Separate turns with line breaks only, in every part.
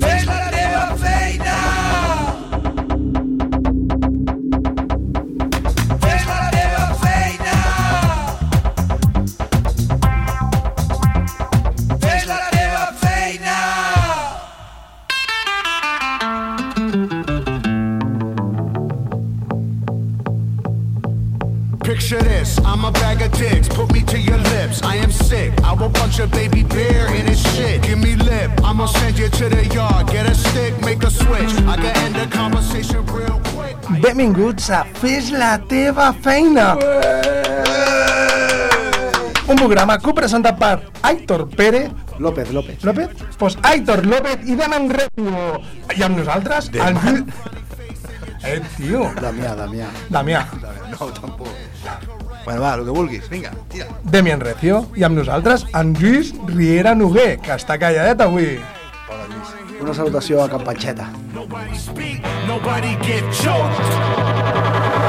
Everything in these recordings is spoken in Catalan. Fes la teva feina! Fes la teva feina! Fes la teva feina!
Picture this, I'm a bag of dicks, put me to your lips. I am sick, I will punch a baby bear in his shit. Give me lip, I'm gonna send you to the yard. Get a stick, make a switch. I can end the conversation real quick.
Benvinguts a Fes la teva feina! Un programa copresentat per Aitor Pérez,
López, López.
López? Pues Aitor López i Daman Repo. I amb nosaltres, el Lluís... Eh, tio,
Damià, Damià.
Damià,
No, tampoc. Bueno, va, el que vulguis, vinga, tira.
Demian Recio, i amb nosaltres, en Lluís Riera Noguer, que està calladet avui.
Una salutació a Campanxeta.
Nobody speak, nobody get choked.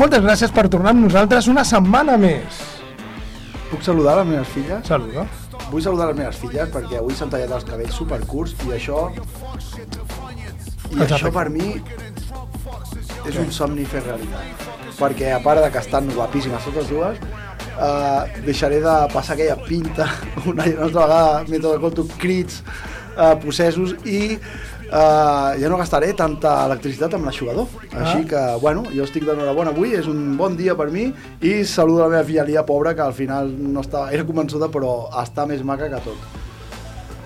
Moltes gràcies per tornar amb nosaltres una setmana més.
Puc saludar les meves filles?
Saluda.
Vull saludar les meves filles perquè avui s'han tallat els cabells supercurts i això... I
Els
això
afecta.
per mi és un somni fer realitat. Perquè a part de que estan guapíssimes totes dues, eh, deixaré de passar aquella pinta una i una altra vegada mentre escolto crits, eh, processos i eh, ja no gastaré tanta electricitat amb l'aixugador. Així
Ah.
que, bueno, jo estic d'enhorabona avui, és un bon dia per mi i saludo la meva filla Lia, pobra, que al final no estava gaire convençuda, però està més maca que tot.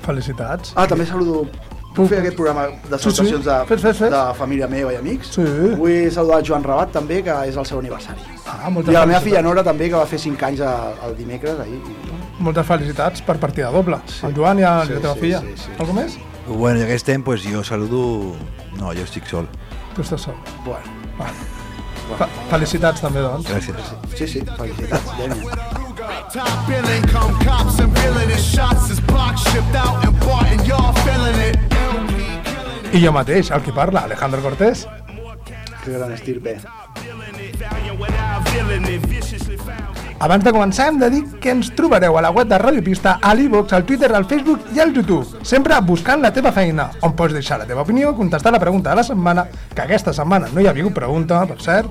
Felicitats.
Ah, també saludo... Puc fer aquest programa de
Sí, sí.
salutacions de,
Fes, fes, fes.
de família meva i amics?
Sí.
Vull saludar el Joan Rabat també, que és el seu aniversari.
Ah,
I a la meva
felicitats.
filla Nora també, que va fer 5 anys el, el dimecres ahir. I...
Moltes felicitats per partida doble. Sí. El Joan i a
Sí,
la teva
sí,
filla.
sí, sí.
Algú més?
Bueno, ja que estem, pues jo saludo... No, jo estic sol.
Tu estàs sol.
Bueno,
Fe felicitats també, doncs.
Gràcies.
sí, sí, felicitats, Dènia.
Top billing, come cops and billing it. Shots is block shipped out and bought and y'all feeling it.
I jo mateix, el que parla, Alejandro Cortés.
Que gran estirpe.
Abans de començar hem de dir que ens trobareu a la web de Ràdio Pista, a l'Ivox, al Twitter, al Facebook i al YouTube, sempre buscant la teva feina, on pots deixar la teva opinió, contestar la pregunta de la setmana, que aquesta setmana no hi ha hagut pregunta, per cert,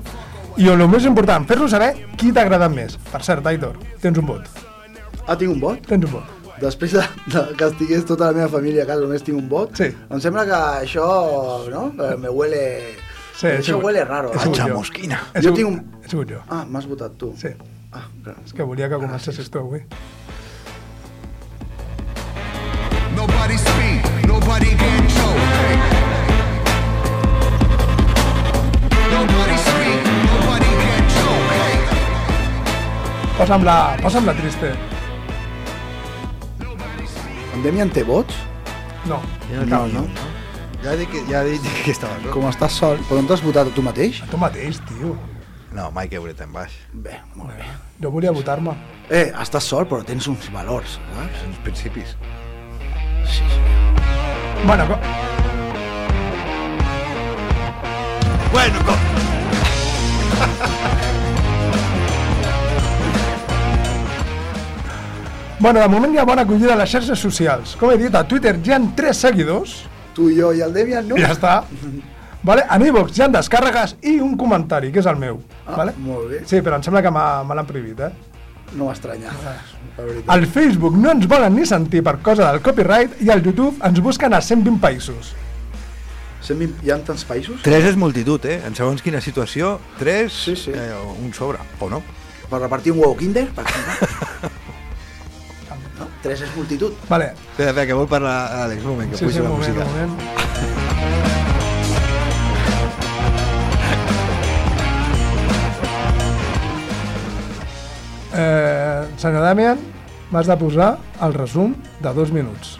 i on el més important, fer-nos saber qui t'ha agradat més. Per cert, Aitor, tens un vot,
Ah, tinc un vot?
tens un vot.
Després de, de que estigués tota la meva família a casa, només tinc un vot.
Sí.
Em sembla que això, no? Eh, Me huele...
Sí,
això
sí.
huele raro.
Sí,
Ah,
jo.
mosquina.
He
Jo
sigut-
tinc un-
He sigut jo.
Ah, m'has votat tu.
Sí,
Ah, gràcies.
és que volia que comencessis tu avui.
Nobody speak, nobody get choked. Nobody speak, nobody get choked.
Posa'm la, posa'm la triste.
En Demian té vots?
No,
No, no.
Ja dic que, ja dic que estava sol.
Com estàs sol, però no t'has votat tu mateix?
tu mateix, tio.
No, mai que hauret en baix.
Bé, molt bé.
Jo volia votar-me.
Eh, estàs sol, però tens uns valors, saps?
En principis.
Bueno, co-
Bueno, com...
Bueno, de moment hi ha bona acollida a les xarxes socials. Com he dit, a Twitter hi han 3 seguidors,
Tu i jo i el Demian, no?
i ja està. Vale? A Evox hi han descàrregues i un comentari, que és el meu.
Ah,
vale?
molt bé.
Sí, però em sembla que m'ha- me l'han prohibit, eh?
No m'estranya, la veritat.
Al Facebook no ens volen ni sentir per cosa del copyright i al YouTube ens busquen a 120 països.
120, hi ha tants països?
Tres és multitud, eh? En segons quina situació, tres,
Sí, sí.
Eh, un sobre, o no?
Per repartir un huevo kinder, per exemple? no? Tres és multitud.
Vale.
Espera, espera, que vol parlar Àlex, un moment, que
Sí,
puja
sí, un
la
moment, un
música.
moment. Eh, senyor Damian, m'has de posar el resum de dos minuts.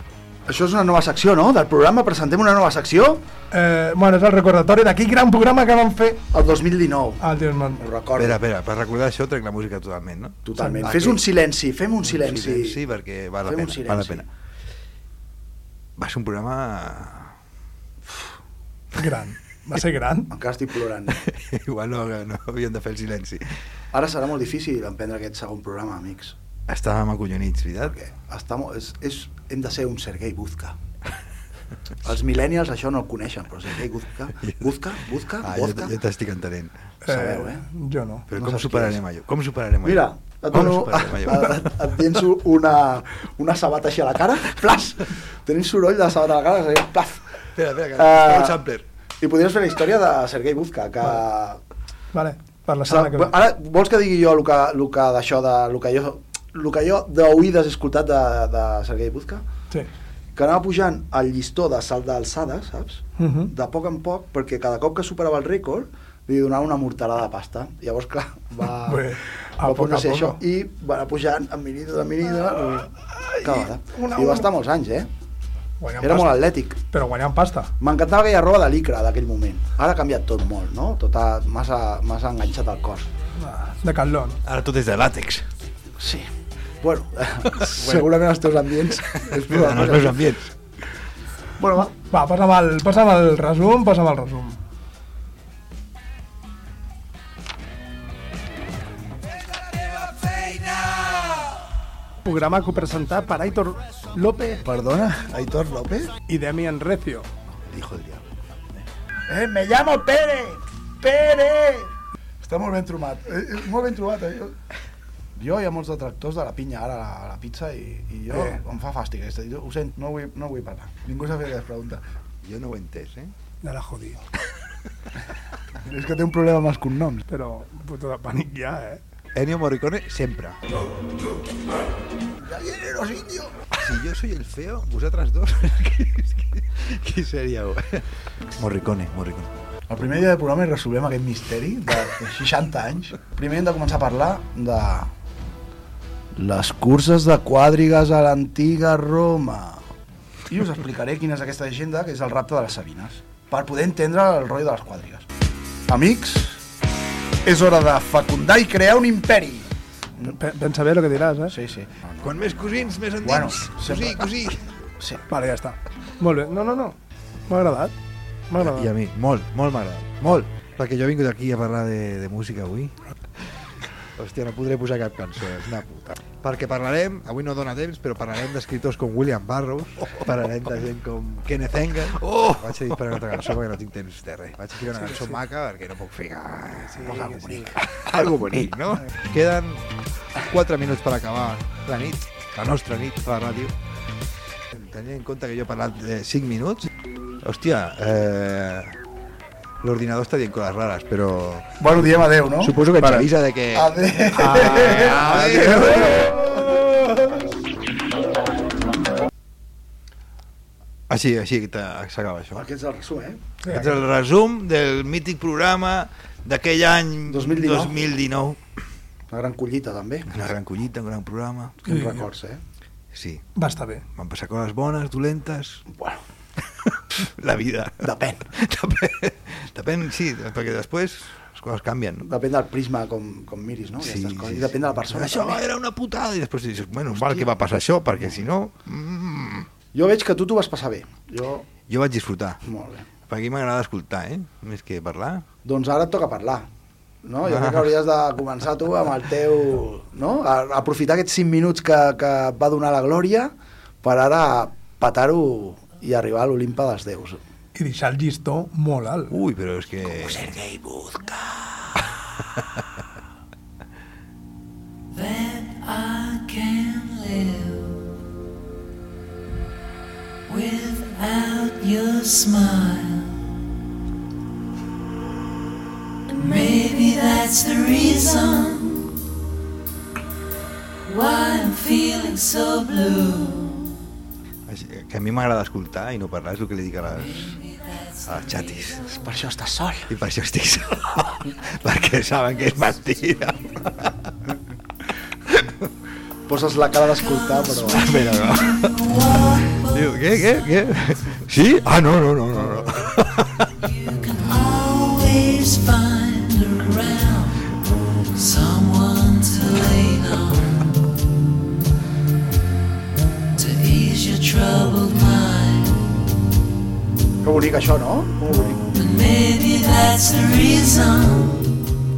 Això és una nova secció, no? Del programa presentem una nova secció
Eh, bueno, és el recordatori d'aquí gran programa que vam fer
el 2019.
al Dios Man.
Ho recordo.
Espera, espera, per recordar això trec la música totalment, no?
Totalment.
Aquí.
Fes un silenci, fem un silenci.
silenci perquè val la
Fem un
pena, val la
silenci.
pena. Va ser un programa...
Gran. Va ser gran.
Encara estic plorant.
Igual no, no havíem de fer el silenci.
Ara serà molt difícil emprendre aquest segon programa, amics.
Estàvem acollonits, veritat?
Perquè està molt, és, és, hem de ser un Sergei Buzka. Els millennials això no el coneixen, però Sergei Buzka... Buzka? Buzka?
Ah, jo,
Buzka?
jo t'estic entenent.
Sabeu, eh?
Jo no.
Però
No
com
saps qui
superarem allò? Com superarem allò?
Mira, et
com
dono...
superarem allò?
Et, et llenço una, una sabata així a la cara. Plas! Tenim soroll de la sabata a la cara. és a dir, Plas!
Espera, espera, que
Ah.
uh... el sampler.
I podries fer la història de Sergei Buzka, que
Vale, per la
Ara,
setmana que ve.
ara vols que digui jo el que, el que d'això de... El que jo, el que jo d'oïdes he escoltat de, de Sergei Buzka?
Sí.
Que anava pujant al llistó de salt d'alçada, saps?
Mhm.
De poc en poc, perquè cada cop que superava el rècord li donava una mortalada de pasta. Llavors, clar, va...
Bé, a poc a
posar-se
poc. Ah,
Això, I va anar pujant amb minida, amb minida... Cada vegada.
una-
I va estar molts anys, eh?
Guanyant
Era
pasta.
molt atlètic.
Però guanyant pasta.
M'encantava aquella roba de licra d'aquell moment. Ara ha canviat tot molt, no? Tot ha, massa, massa enganxat al cos.
Ah, De Catlon.
Ara tot és de làtex.
Sí. Bueno, segurament els teus ambients... és
En
probable
els
que-
meus ambients.
Bueno, va.
Va, passa'm el, passa'm el resum, passa'm el resum. Programa que presentat per Aitor López
Perdona, Aitor López?
i Demian Recio.
Hijo del diablo.
Eh, me llamo Pérez. Pérez. Està molt ben trobat. Eh, eh, molt ben trobat, eh? Jo, jo hi ha molts detractors de la pinya ara, la, la pizza, i, i jo
Eh.
em fa fàstic. És a dir, ho sent, no vull, no vull parlar. Ningú s'ha fet aquesta pregunta.
Jo no ho he entès, eh?
Ja l'ha jodido.
És que té un problema amb els cognoms.
Però, puto de pànic ja, eh?
Ennio Morricone, sempre.
Los indios.
Si yo soy el feo, vosotras dos, ¿qué, qué, qué seríeu? Morricone, Morricone.
El primer dia del programa hi resolvem aquest misteri de, de 60 anys. Primer hem de començar a parlar de... Les curses de quadrigues a l'antiga Roma. I us explicaré quina és aquesta agenda, que és el rapte de les Sabines, per poder entendre el rotllo de les quadrigues. Amics, és hora de fecundar i crear un imperi.
Pe- Pensa bé el que diràs, eh?
Sí, sí.
Quan més cosins, més endins.
Bueno,
cosí,
sempre.
cosí.
sí.
Vale, ja està. Molt bé. No, no, no. M'ha agradat.
I
M'ha
a
agradat.
mi, molt, molt m'agrada. Molt. Perquè jo he vingut aquí a parlar de, de música avui. Hòstia, no podré posar cap cançó, és una puta. Perquè parlarem, avui no dona temps, però parlarem d'escriptors com William Burroughs, parlarem de gent com Kenneth Engel. Oh! Vaig a dir per una altra cançó perquè no tinc temps de res. Vaig a ficar una cançó maca perquè no puc ficar... Sí, algo bonic. Algo bonic, no? Queden 4 minuts per acabar la nit, la nostra nit a la ràdio. Tenint en compte que jo he parlat de 5 minuts, hòstia, eh, l'ordinador està dient coses rares, però
Bueno, diem adeu, no?
suposo que ens avisa de que...
Adeu.
Adéu! Així, així que t'a- s'acaba això.
Aquest és el resum, eh?
Aquest és el resum del mític programa d'aquell any
2019.
2019.
Una gran collita, també.
Una gran collita, un gran programa.
Quins records, eh?
Sí,
Va estar bé.
van passar coses bones, dolentes,
Bueno,
la vida.
depèn.
Depèn, depèn sí, perquè després les coses canvien. No?
Depèn del prisma com, com miris, no? Aquestes coses. I depèn de la persona,
Això
també.
era una putada i després dius, bueno, val que va passar això, perquè si no... Mm,
Jo veig que tu t'ho vas passar bé. Jo,
jo vaig disfrutar.
molt bé.
Perquè a mi m'agrada escoltar, eh? Més que parlar.
Doncs ara et toca parlar. No? Jo crec que hauries de començar tu amb el teu... No? A, a aprofitar aquests 5 minuts que, que et va donar la Glòria per ara petar-ho i arribar a l'Olimpa dels Déus.
I deixar el llistó molt alt.
Ui, però és que...
Sergei Buzka.
that I can live without your smile. And maybe that's the reason why I'm feeling so blue.
Així Que a mi m'agrada escoltar i no parlar, és el que li dic a les, a les xatis.
Per això estàs sol.
I per això estic sol. perquè saben que és mentida.
Poses la cara d'escoltar, però...
Però no. Diu, què, què, què? Sí? Ah, no, no, no, no. no.
Always find around someone to lean on to ease your troubled mind.
Que bonic això, no? Molt bonic.
But maybe that's the reason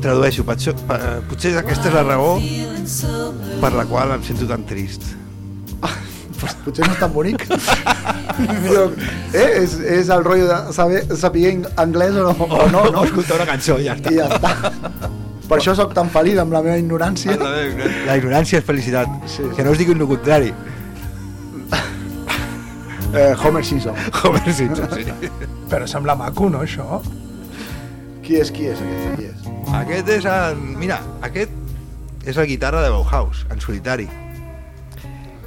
Tradueixo, potser, pa- potser aquesta és la raó
feeling so blue.
per la qual em sento tan trist.
Potser no és tan bonic. Però, eh, és, és el rotllo de saber, saber ing- anglès o no, o no, no?
escoltar una cançó i ja
I ja està. Per això sóc tan feliç amb la meva ignorància.
La ignorància és felicitat.
Sí.
Que no us diguin el contrari.
Eh, Homer Simpson.
Joder, sí, sí.
Però sembla maco, no, això?
Qui és, qui és aquest? Qui és?
Aquest és el... Mira, aquest és la guitarra de Bauhaus, en solitari.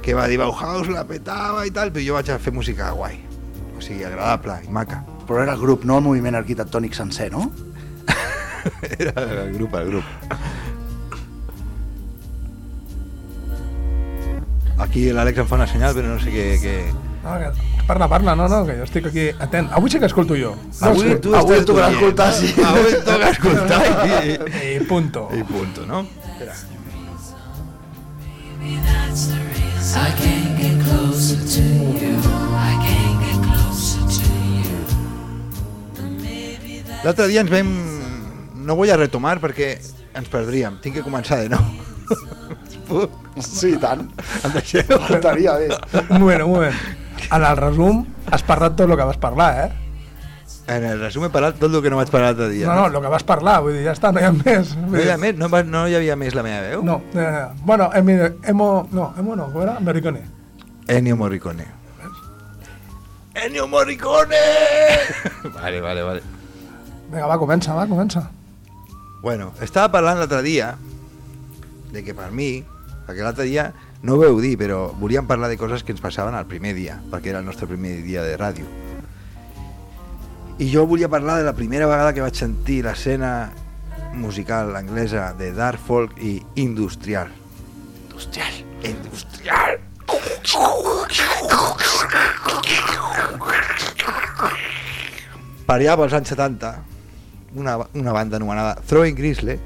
Que va dir Bauhaus la petava i tal, però jo vaig a fer música guai. O sigui, agradable i maca.
Però era el grup, no el moviment arquitectònic sencer, no?
Era el grup, el grup. Aquí l'Àlex em fa una senyal, però no sé què... què...
No, que, parla, parla, no, no, que jo estic aquí atent. Avui sí que escolto jo. No
Avui
sé.
tu
avui
estàs
tocarà
dient.
escoltar, sí.
Avui toca escoltar i...
I Eh, punto.
I punto, no? Espera.
I can't get closer to you. I can't get closer to you.
L'altre dia ens vam... No vull a retomar perquè ens perdríem. Tinc que començar de nou.
Sí, i tant.
Em deixeu?
Faltaria bé.
Un moment, un moment. En el resum has parlat tot el que vas parlar, eh?
En el resum he parlat tot el que no vaig parlar l'altre dia.
No, no, el que vas parlar, vull dir, ja està, no hi ha més.
No hi havia més, no, va- no hi havia més la meva veu?
No, no, no. Bueno, emi, emo, no, emo no, com era? Americone.
Ennio Morricone.
Eh.
Ennio Morricone! vale, vale, vale.
Vinga, va, comença, va, comença.
Bueno, estava parlant l'altre dia de que per mi, perquè l'altre dia no ho veu dir, però volíem parlar de coses que ens passaven el primer dia, perquè era el nostre primer dia de ràdio. I jo volia parlar de la primera vegada que vaig sentir l'escena musical anglesa de dark folk i industrial. Industrial. Industrial. Per allà pels anys 70, una, una banda anomenada Throwing Grizzly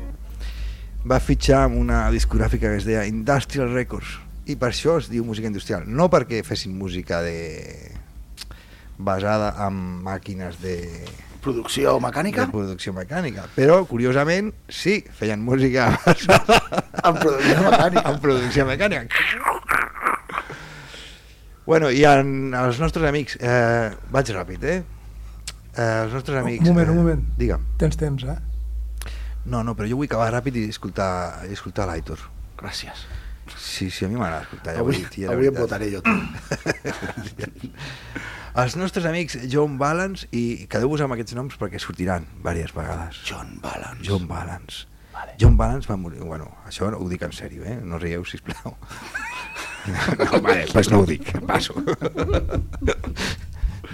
va fitxar amb una discogràfica que es deia Industrial Records i per això es diu música industrial no perquè fessin música de... basada en màquines de,
Producció mecànica?
de producció mecànica però curiosament sí, feien música basada
En producció mecànica.
en producció mecànica bueno i en, els nostres amics eh, vaig ràpid eh? eh els nostres amics
moment, un
eh,
moment.
digue'm
Tens temps, eh?
no, no, però jo vull acabar ràpid i escoltar, i escoltar l'Aitor.
Gràcies.
Sí, sí, a mi m'agrada escoltar. Ja ho he
Avui,
dit, ja la
avui em
veritat.
votaré jo. tu.
Els nostres amics John Balance, i quedeu-vos amb aquests noms perquè sortiran diverses vegades.
John Balance.
John Balance. Vale. John Balance va morir... Bueno, això ho dic en sèrio, eh? No rieu, sisplau. no, vale, pues no ho dic, passo.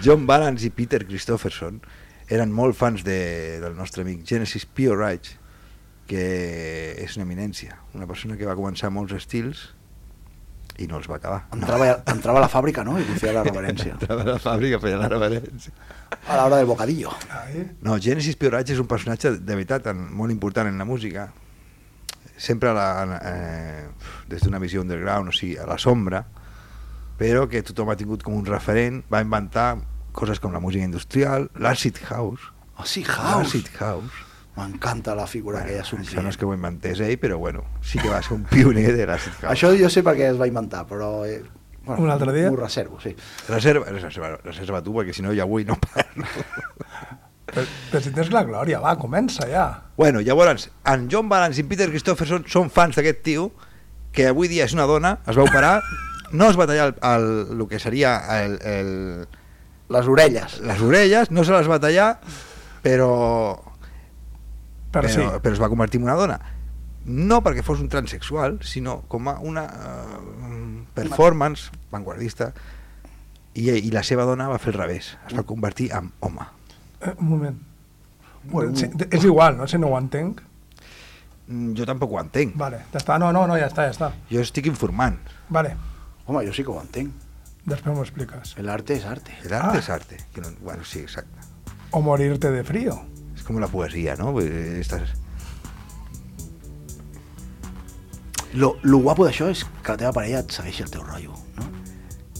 John Balance i Peter Christopherson eren molt fans de, del nostre amic Genesis Pio Wright, que és una eminència, una persona que va començar molts estils i no els va acabar.
Entrava, entrava a la fàbrica, no? I li feia la reverència.
Entrava a la fàbrica, feia la reverència.
A l'hora del bocadillo.
Ahí.
No, Genesis Pioratge és un personatge de veritat en- molt important en la música. Sempre la, en- eh, des d'una visió underground, o sigui, a la sombra, però que tothom ha tingut com un referent, va inventar coses com la música industrial, l'acid house,
Oh, sí, House.
l'acid house.
M'encanta la figura que ja
Bueno,
és un
Ah, això no és
pioner.
que ho inventés ell, però bueno, sí que va ser un pioner de l'acid house.
Això jo sé per què es va inventar, però... Eh, bueno,
Un altre dia?
M'ho reservo, sí.
Reserva, reserva, reserva tu, perquè si no jo avui no parlo.
Però, però si tens la glòria, va, comença ja.
Bueno, llavors, en John Balance i en Peter Christopherson són fans d'aquest tio que avui dia és una dona, es va operar, no es va tallar el, el, el que seria el, el,
Les orelles.
les orelles, no se les va tallar, però,
Però,
però,
sí,
però es va convertir en una dona. No perquè fos un transexual, sinó com a una uh, performance vanguardista i, i la seva dona va fer el revés, es va convertir en home.
eh, un moment. Sí, és igual, no? Si no ho entenc.
Mm, Jo tampoc ho entenc,
Vale, ja està. No, no, no, ja està, ja està.
jo estic informant.
Vale.
Home, jo sí que ho entenc.
Després m'ho expliques.
El arte es arte.
El arte
Ah.
es arte. que no- bueno, sí, exacto.
O morirte de frío.
Es como la poesía, ¿no? Pues, eh, Estas,
Lo, lo guapo d'això és que la teva parella et segueix el teu rotllo, no?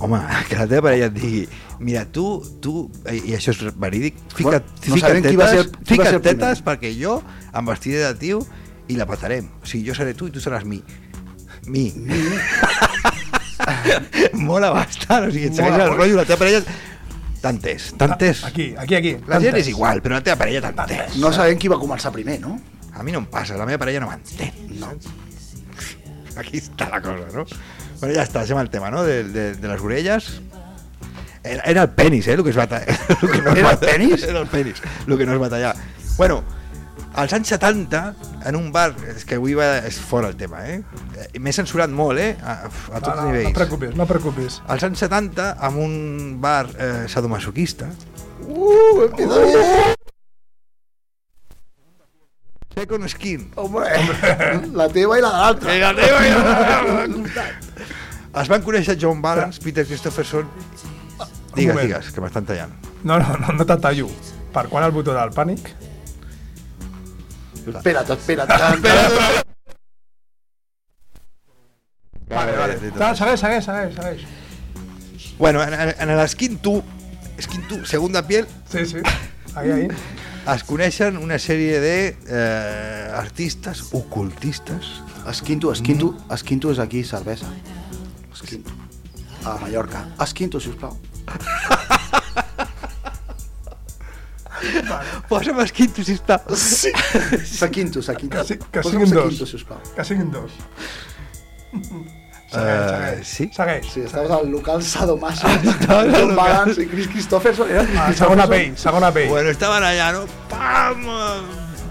Home, que la teva parella et digui mira, tu, tu, eh, i això és verídic, fica,
Bueno,
no
no
fica
sabem
tetes,
qui va ser- qui
fica
va ser el primer.
tetes perquè jo em vestiré de tio i la patarem. O sigui, jo seré tu i tu seràs mi. Mi. Mola bastant, o sigui, et segueix
Mola
el
molt.
rotllo, la teva parella... Tantes, tantes.
Ah, Aquí, aquí, aquí.
La gent és
Tantes.
igual, però la teva parella tantes.
No sabem qui va començar primer, no?
A mi no em passa, la meva parella no m'entén. No. Aquí està la cosa, no? Bueno, ja està, estem al tema, no? De, de, de les orelles. Era, era el penis, eh, el que es va tallar. Que no es
Era
va-
el penis?
Era el penis, el que no es va tallar. Bueno, als anys 70, en un bar, és que avui va, és fora el tema, eh? Eh, M'he censurat molt, eh? A, a tots els
No, no, no et
nivells.
preocupis, no et preocupis.
als anys 70, amb un bar eh, sadomasoquista,
Uh,
Second Skin,
Hombre, la teva i la de l'altra.
I la teva, i la teva. Es van conèixer John Balance, Peter Christopherson... Digues,
moment.
digues, que m'estan tallant.
No, no, no, no te tallo. Per quan el botó del pànic?
Espera't, espera't. espera't.
Vale,
Ta, Ah, segueix, segueix, segueix, segueix.
Bueno, en, en, en el Skin 2, Skin 2, segunda piel,
Sí, sí. Ahí, ahí.
es coneixen una sèrie de eh, artistes ocultistes.
Esquinto, esquinto, esquinto és aquí, cervesa. Esquinto. A Mallorca. Esquinto, sisplau.
Posa'm Skin 2, sisplau.
Sí. Saquinto, saquinto.
Que, si, que
Posa'm
siguin dos.
Saquinto, sisplau.
Que siguin dos.
Eh,
Segueix, segueix.
sí?
Segueix.
Sí, estaves al local Sadomaso,
al local.
John Balance i Chris Christopherson. Era
Ah, segona pell, segona pell.
Bueno, estaban allá, ¿no? ¡Pam!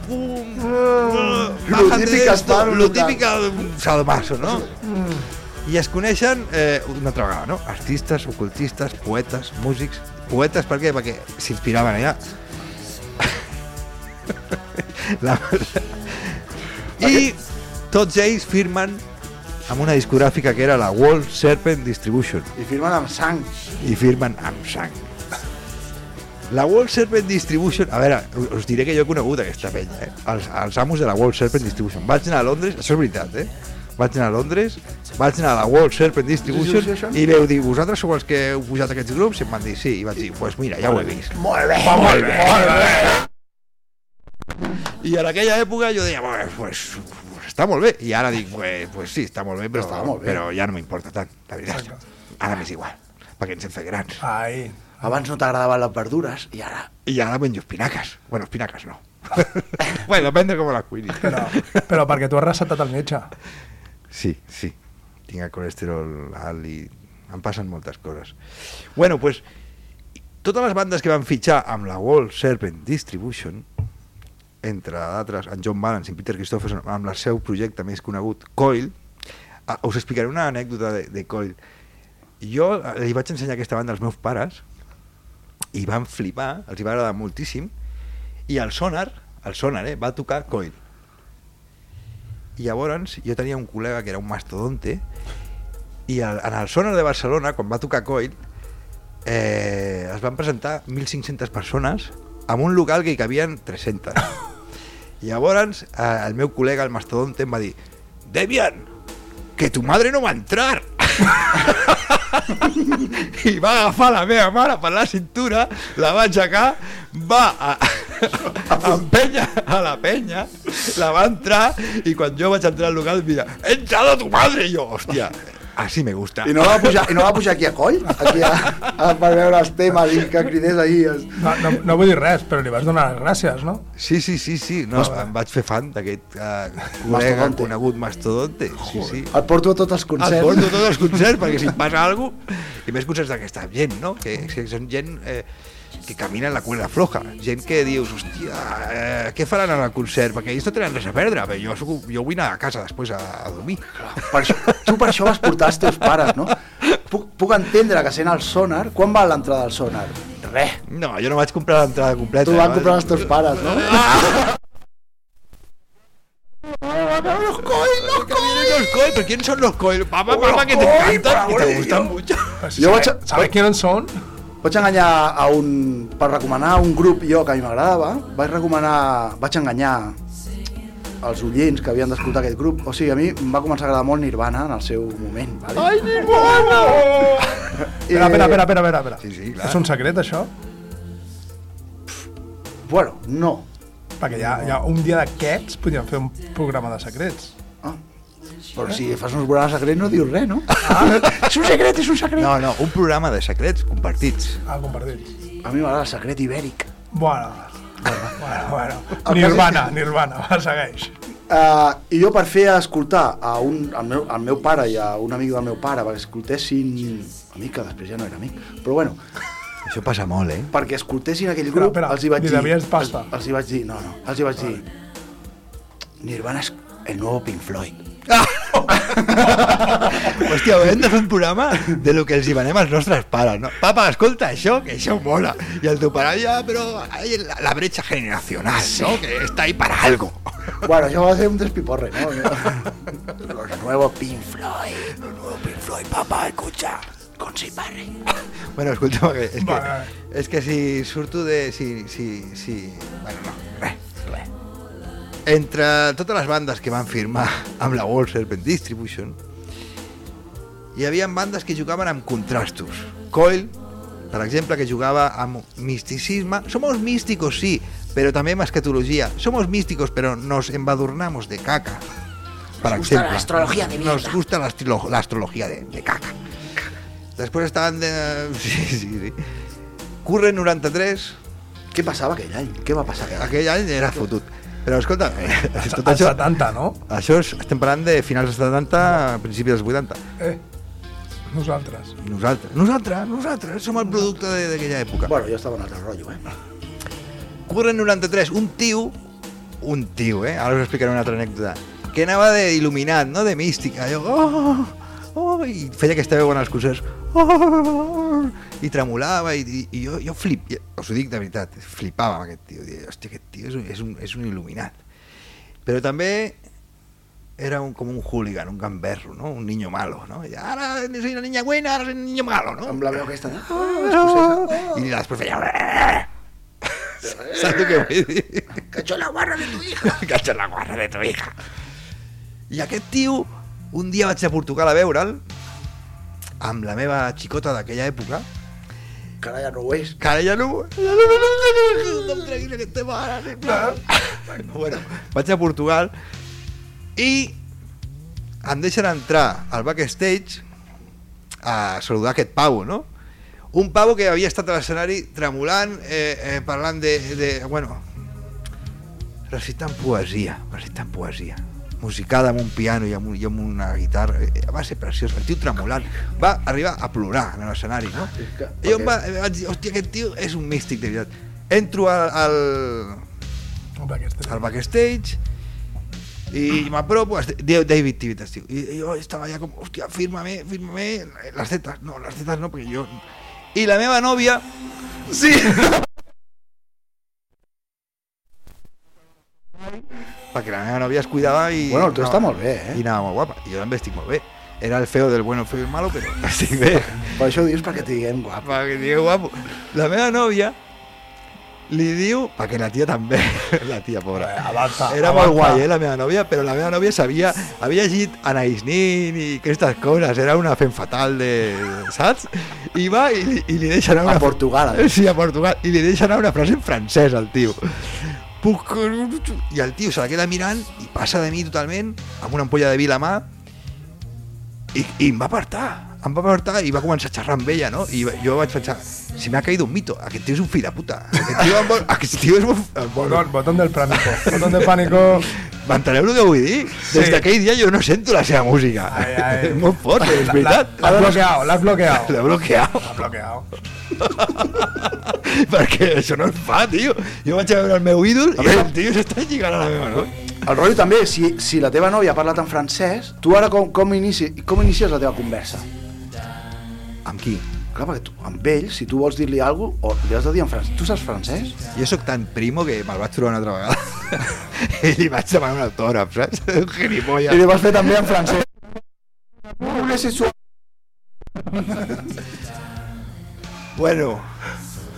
¡Pum!
Ah. Lo
Bájate de
típica
esto,
Sparrow,
lo
en plan.
típica salmaso, ¿no?
Mm.
I es coneixen eh, una altra vegada, no? Artistes, ocultistes, poetes, músics... Poetes per què? Perquè s'inspiraven allà. La... I tots ells firmen amb una discogràfica que era la World Serpent Distribution
I firmen amb sang.
i firmen amb sang. La World Serpent Distribution... A veure, u- us diré que jo he conegut aquesta penya, eh? Els, els amos de la World Serpent Distribution. Vaig anar a Londres, això és veritat, eh? Vaig anar a Londres, vaig anar a la World Serpent Distribution i veu dir, vosaltres sou els que heu pujat aquests grups? I em van dir, sí. I vaig dir, doncs pues mira, ja ho he vist.
Molt bé.
Molt bé, molt bé. I en aquella època jo deia, bueno, pues, pues està molt bé. I ara dic, pues, pues sí, està molt bé, però,
Està molt bé.
però ja no m'importa tant, la veritat.
Exacte.
Ara m'és igual, perquè ens hem fet grans.
Ahí.
Abans no t'agradaven les verdures i ara...
I ara menjo espinaques. Bueno, espinaques no. bueno, depèn de com les cuinis.
Però, però perquè tu has recetat el metge.
Sí, sí. Tinc el colesterol alt i em passen moltes coses. Bueno, pues, totes les bandes que van fitxar amb la World Serpent Distribution, entre d'altres, en John Balance i Peter Christopherson, amb el seu projecte més conegut, Coil, ah, us explicaré una anècdota de, de Coil. Jo eh, li vaig ensenyar aquesta banda als meus pares i van flipar, els hi va agradar moltíssim, i el sonar, el sonar, eh, va tocar Coil. I llavors jo tenia un col·lega que era un mastodonte i al- en el sonar de Barcelona, quan va tocar Coil, eh, es van presentar 1.500 persones en un local que hi cabien 300. I llavors eh, el meu col·lega, el mastodonte, em va dir Debian, que tu madre no va entrar! I va agafar la meva mare per la cintura, la va aixecar, va a, a empènyer a la penya, la va entrar i quan jo vaig entrar al local, mira, he entrado tu madre! I jo, hòstia, així me gusta.
I no va pujar, i no va pujar aquí a coll? Aquí a, a, per veure els temes i que cridés ahir. Es...
No, no, no vull dir res, però li vas donar les gràcies, no?
Sí, sí, sí, sí. No, em vaig fer fan d'aquest uh, col·lega
Mastodonte.
conegut mastodonte. Sí, sí.
Et porto a tots els
Et
concerts.
porto tots els concerts perquè si em passa alguna cosa... I més concerts d'aquesta gent, no? Que, que són gent eh, que camina en la cuerda floja. Gent que dius, hòstia, eh, què faran en el concert? Perquè ells no tenen res a perdre. Bé, jo, soc- jo vull anar a casa després a, a dormir.
Per això, tu per això vas portar els teus pares, no? Puc, puc entendre que sent el sonar... Quan val l'entrada del sonar? Res.
No, jo no vaig comprar l'entrada completa.
Eh. Tu van
Vaig-
comprar els teus pares, no?
Los coi, los coi, ¿pero quién son los coi? Mamá, mamá, que te encantan y te gustan mucho.
Si
Jo
sabe-
vaig a-
Saber quins són?
Vaig enganyar a un... Per recomanar un grup jo que a mi m'agradava, vaig recomanar... Vaig enganyar els oients que havien d'escoltar aquest grup. O sigui, a mi em va començar a agradar molt Nirvana en el seu moment. Vale? Eh, Ai, Nirvana!
Espera, espera, espera, espera, espera, espera.
Sí, sí, clar.
És un secret, això?
Bueno, no.
Perquè ja, ja un dia d'aquests podríem fer un programa de secrets.
Però si fas uns programes secrets no dius res, no? Ah. és un secret, és un secret.
No, no, un programa de secrets compartits.
Ah, compartits.
A mi m'agrada el secret ibèric.
Bueno, bueno, bueno.
El
Nirvana, Nirvana, va, segueix.
Uh, I jo per fer escoltar a un, al, meu, al meu pare i a un amic del meu pare perquè escoltessin... Amic, que després ja no era amic. Però bueno,
Això passa molt, eh?
perquè escoltessin aquell
Espera,
grup,
espera,
els hi vaig
li
dir...
devies pasta.
Els, els hi vaig dir, no, no, els hi vaig dir... Nirvana és el nuevo Pink Floyd.
Hòstia, haurem de fer un programa de lo que els hi venem als nostres pares, no? Papa, escolta això, que això mola. I el teu pare, ja, però hay la, la brecha generacional, no? Que está ahí para algo.
bueno, això va ser un despiporre, no? Los nuevos Pink Floyd. Los nuevos Pink Floyd, papá, escucha. Con si parre.
Bueno, escolta, que- és que,
Vale.
és que si surto de... Si, si, si... Bueno, no, res, res. Entre totes les bandes que van firmar amb la World Serpent Distribution, hi havia bandes que jugaven amb contrastos. Coil, per exemple, que jugava amb misticisme. Somos místicos, sí, però també amb escatologia. Somos místicos, però nos embadurnamos de caca. Per nos exemple, gusta l'astrologia de Nos gusta l'astrolo- l'astrologia de, de caca. Després estaven de... Sí, sí, sí. Curre 93,
Què passava aquell any? Què va passar aquell any?
aquell any era fotut. Però escolta, tot
Als
això,
70, no?
això és, estem parlant de finals dels 70, principis dels 80.
Eh, nosaltres.
Nosaltres, nosaltres, nosaltres som el producte de- d'aquella època.
Bueno, jo estava en altre rotllo, eh?
Curre 93, un tio, un tio, eh? Ara us explicaré una altra anècdota, que anava d'il·luminat, no? De mística. Jo, oh, oh, i feia aquesta veu en els "Oh", concerts. Oh, I tremolava, i, i, i jo, jo flip, us ho dic de veritat, flipava amb aquest tio. Deia, hòstia, aquest tio és un, és un, és un il·luminat. Però també era un, com un hooligan, un gamberro, no? Un niño malo, no? I ara soy una niña buena, ara soy un niño malo, no?
Amb la veu aquesta de... "Ah,
Y las profe ya. ¿Sabes lo que vull dir? Cacho la guarra de tu hija. Cacho la guarra de tu hija. I aquest tio, un dia vaig a Portugal a veure'l, amb la meva xicota d'aquella època,
Cara, ja no ho és.
que ara ja no... Ja no, no, no, no, no, tranquil, que estem ara... sí, clar. Bueno, vaig a Portugal i em deixen entrar al backstage a saludar aquest pavo, no? Un pavo que havia estat a l'escenari tremolant, eh, eh, parlant de, de... Bueno, recitant poesia, recitant poesia musicada amb un piano i amb, un, i amb una guitarra Eh, va ser preciós, el tio tremolant va arribar a plorar en l'escenari no?
Ah, és que-
i jo em va, em vaig dir, hòstia, aquest tio és un místic de veritat entro al, al,
Home, aquesta...
al backstage i m'apropo, es- Deu- David Tivitas, tio. I jo estava ja com, hòstia, fírmame, fírmame, les tetas, no, les tetas no, perquè jo... I la meva nòvia... Sí! perquè la meva nòvia es cuidava i...
Bueno, el teu està molt bé, eh?
I anava molt guapa, i jo també estic molt bé. Era el feo del bueno, el feo i el malo, però estic bé.
Per això ho dius perquè et diguem guapo.
Perquè diu guapo. La meva nòvia li diu... Perquè la tia també, la tia pobra.
Eh, avança,
Era
avança.
molt guai, eh, la meva nòvia, però la meva nòvia sabia, havia llegit Anais Nin i aquestes coses, era una fem fatal de... saps? I va i, li- i li deixa anar una...
A Portugal, a
Eh, Sí, a Portugal. I li deixa anar una frase en francès, al tio. Puc- I el tio se la queda mirant i passa de mi totalment amb una ampolla de vi a la mà i, i em va apartar. Em va apartar i va començar a xerrar amb ella, no? I jo vaig pensar, si m'ha caído un mito, aquest tio és un fill de puta. Aquest tio, em vol, aquest tio és un... em vol-
Botón, botón del pánico. Botón del pánico.
M'enteneu el que vull dir? Des
Sí.
d'aquell dia jo no sento la seva música.
Ai, ai.
És molt fort, és veritat.
La- L'has bloqueado, l'has bloqueado.
L'he bloqueat,
L'has bloqueado.
perquè això no es fa, tio. Jo vaig a veure el meu ídol i el tio s'està lligant a la meva, no?
El rotllo també, si, si la teva nòvia ha parlat en francès, tu ara com, com, inici, com inicies la teva conversa?
Amb qui?
Clar, perquè tu, amb ell, si tu vols dir-li alguna cosa, o li has de dir en francès. Tu saps francès?
Jo sóc tan primo que me'l vaig trobar una altra vegada. I li vaig demanar un autògraf, saps? Un gilipolles.
vas fer també en francès.
Bueno,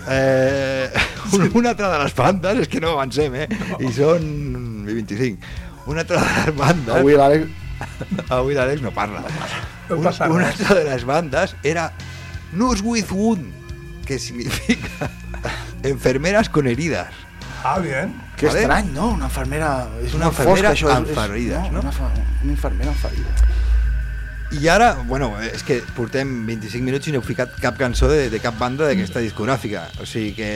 eh, un- una altra de les bandes, és que no avancem, eh? I són 25. Una altra de les bandes...
Avui l'Àlex...
Avui l'Àlex no parla.
No
Un-
passa res.
una altra de les bandes era Nurse with Wound, que significa enfermeras con heridas.
Ah, bien.
Que
Vale.
estrany, no? Una infermera... És
Una
una,
infermera
fosca, això. és-
amb
és-
ferides, no?
Una, fa- una infermera amb ferides.
I ara, bueno, és que portem 25 minuts i no heu ficat cap cançó de, de cap banda d'aquesta discogràfica. O sigui que...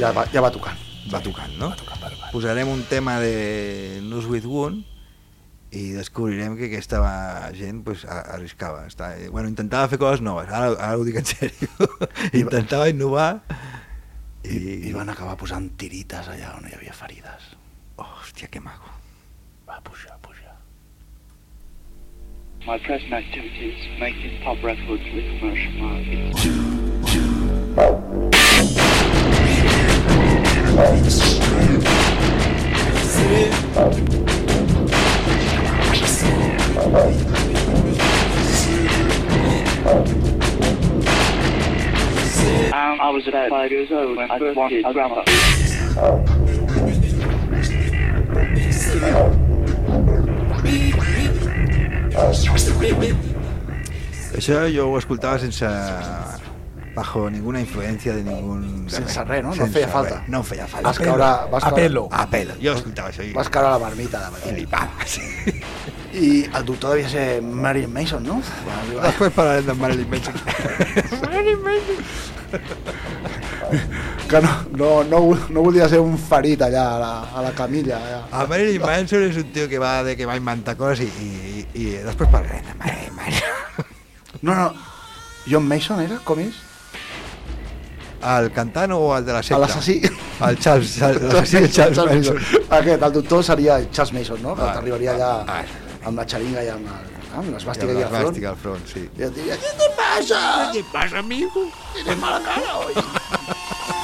Ja va, ja va tocant.
va tocant, no? Va tocant, va, va. Posarem un tema de Nus with Wound i descobrirem que aquesta gent pues, a- arriscava. Està, eh, bueno, intentava fer coses noves, ara, ara ho dic en sèrio. intentava innovar
I,
i...
I van acabar posant tirites allà on hi havia ferides.
Oh, hòstia, que maco.
Va, puja, puja.
My present activities making pop records with commercial markets. Um, I was about five years old when I wanted a drummer.
Això jo ho escoltava sense... bajo ninguna influència de ningú... de
Sense res, no? No feia falta.
res, No feia falta.
Vas caure... Vas caure,
Apelo.
A pelo. Jo escoltava això i...
Vas caure a la marmita de matí.
flipava, sí.
I el doctor devia ser Marion Mason, no? Van arribar-
Després parlarem de Marilyn Manson.
Que no, no, no, vo- no volia ser un ferit allà a la, a la camilla. Allà.
A Marilyn Manson és un tio que va, de, que va inventar coses i, i, i, i després parlarem de Marilyn Manson.
No, no. John Mason era? Com és?
El cantant o el de la secta?
L'assassí.
El Charles, Charles l'assassí de Charles Manson.
Aquest, el doctor seria el Charles Mason, no? Que
Ah, ah,
t'arribaria allà
ah.
amb la xeringa i amb, el, ah, amb l'esbàstica
Hòstia, la
i el front.
plàstica al front, sí.
I et diria, què te passa? Què te passa, amigo? Tienes mala cara, oi?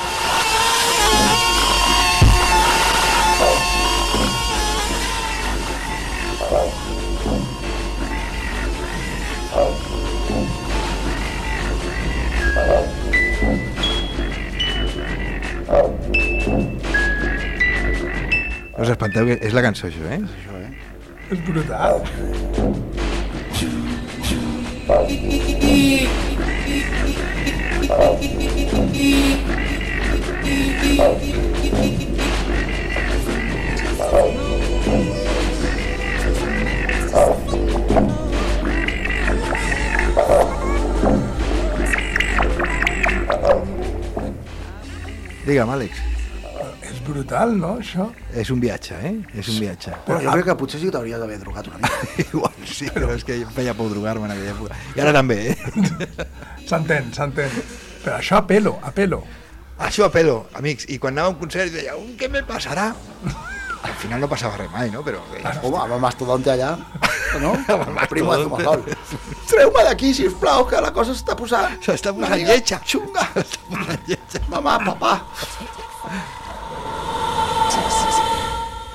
No us espanteu, que és la cançó això, eh?
És brutal.
Digue'm, Àlex.
És brutal, no, això?
És un viatge, eh? És un viatge.
Però jo crec que potser sí que t'hauries d'haver drogat una mica.
Igual sí, però és que em feia por drogar-me en aquella època. I ara també, eh?
S'entén, s'entén. Però això apelo, apelo.
Això a pelo, amics. I quan anava a un concert deia, "Un, què me passarà? Al final no passava res mai, no? Però eh,
Home, amb el mastodonte allà, no? Amb el primo de
mastodonte.
Tomahawk. Treu-me d'aquí, sisplau, que la cosa s'està posant...
s'està
una
posant
mica
lletja.
Xunga.
S'està posant lletja.
Mamà, papà.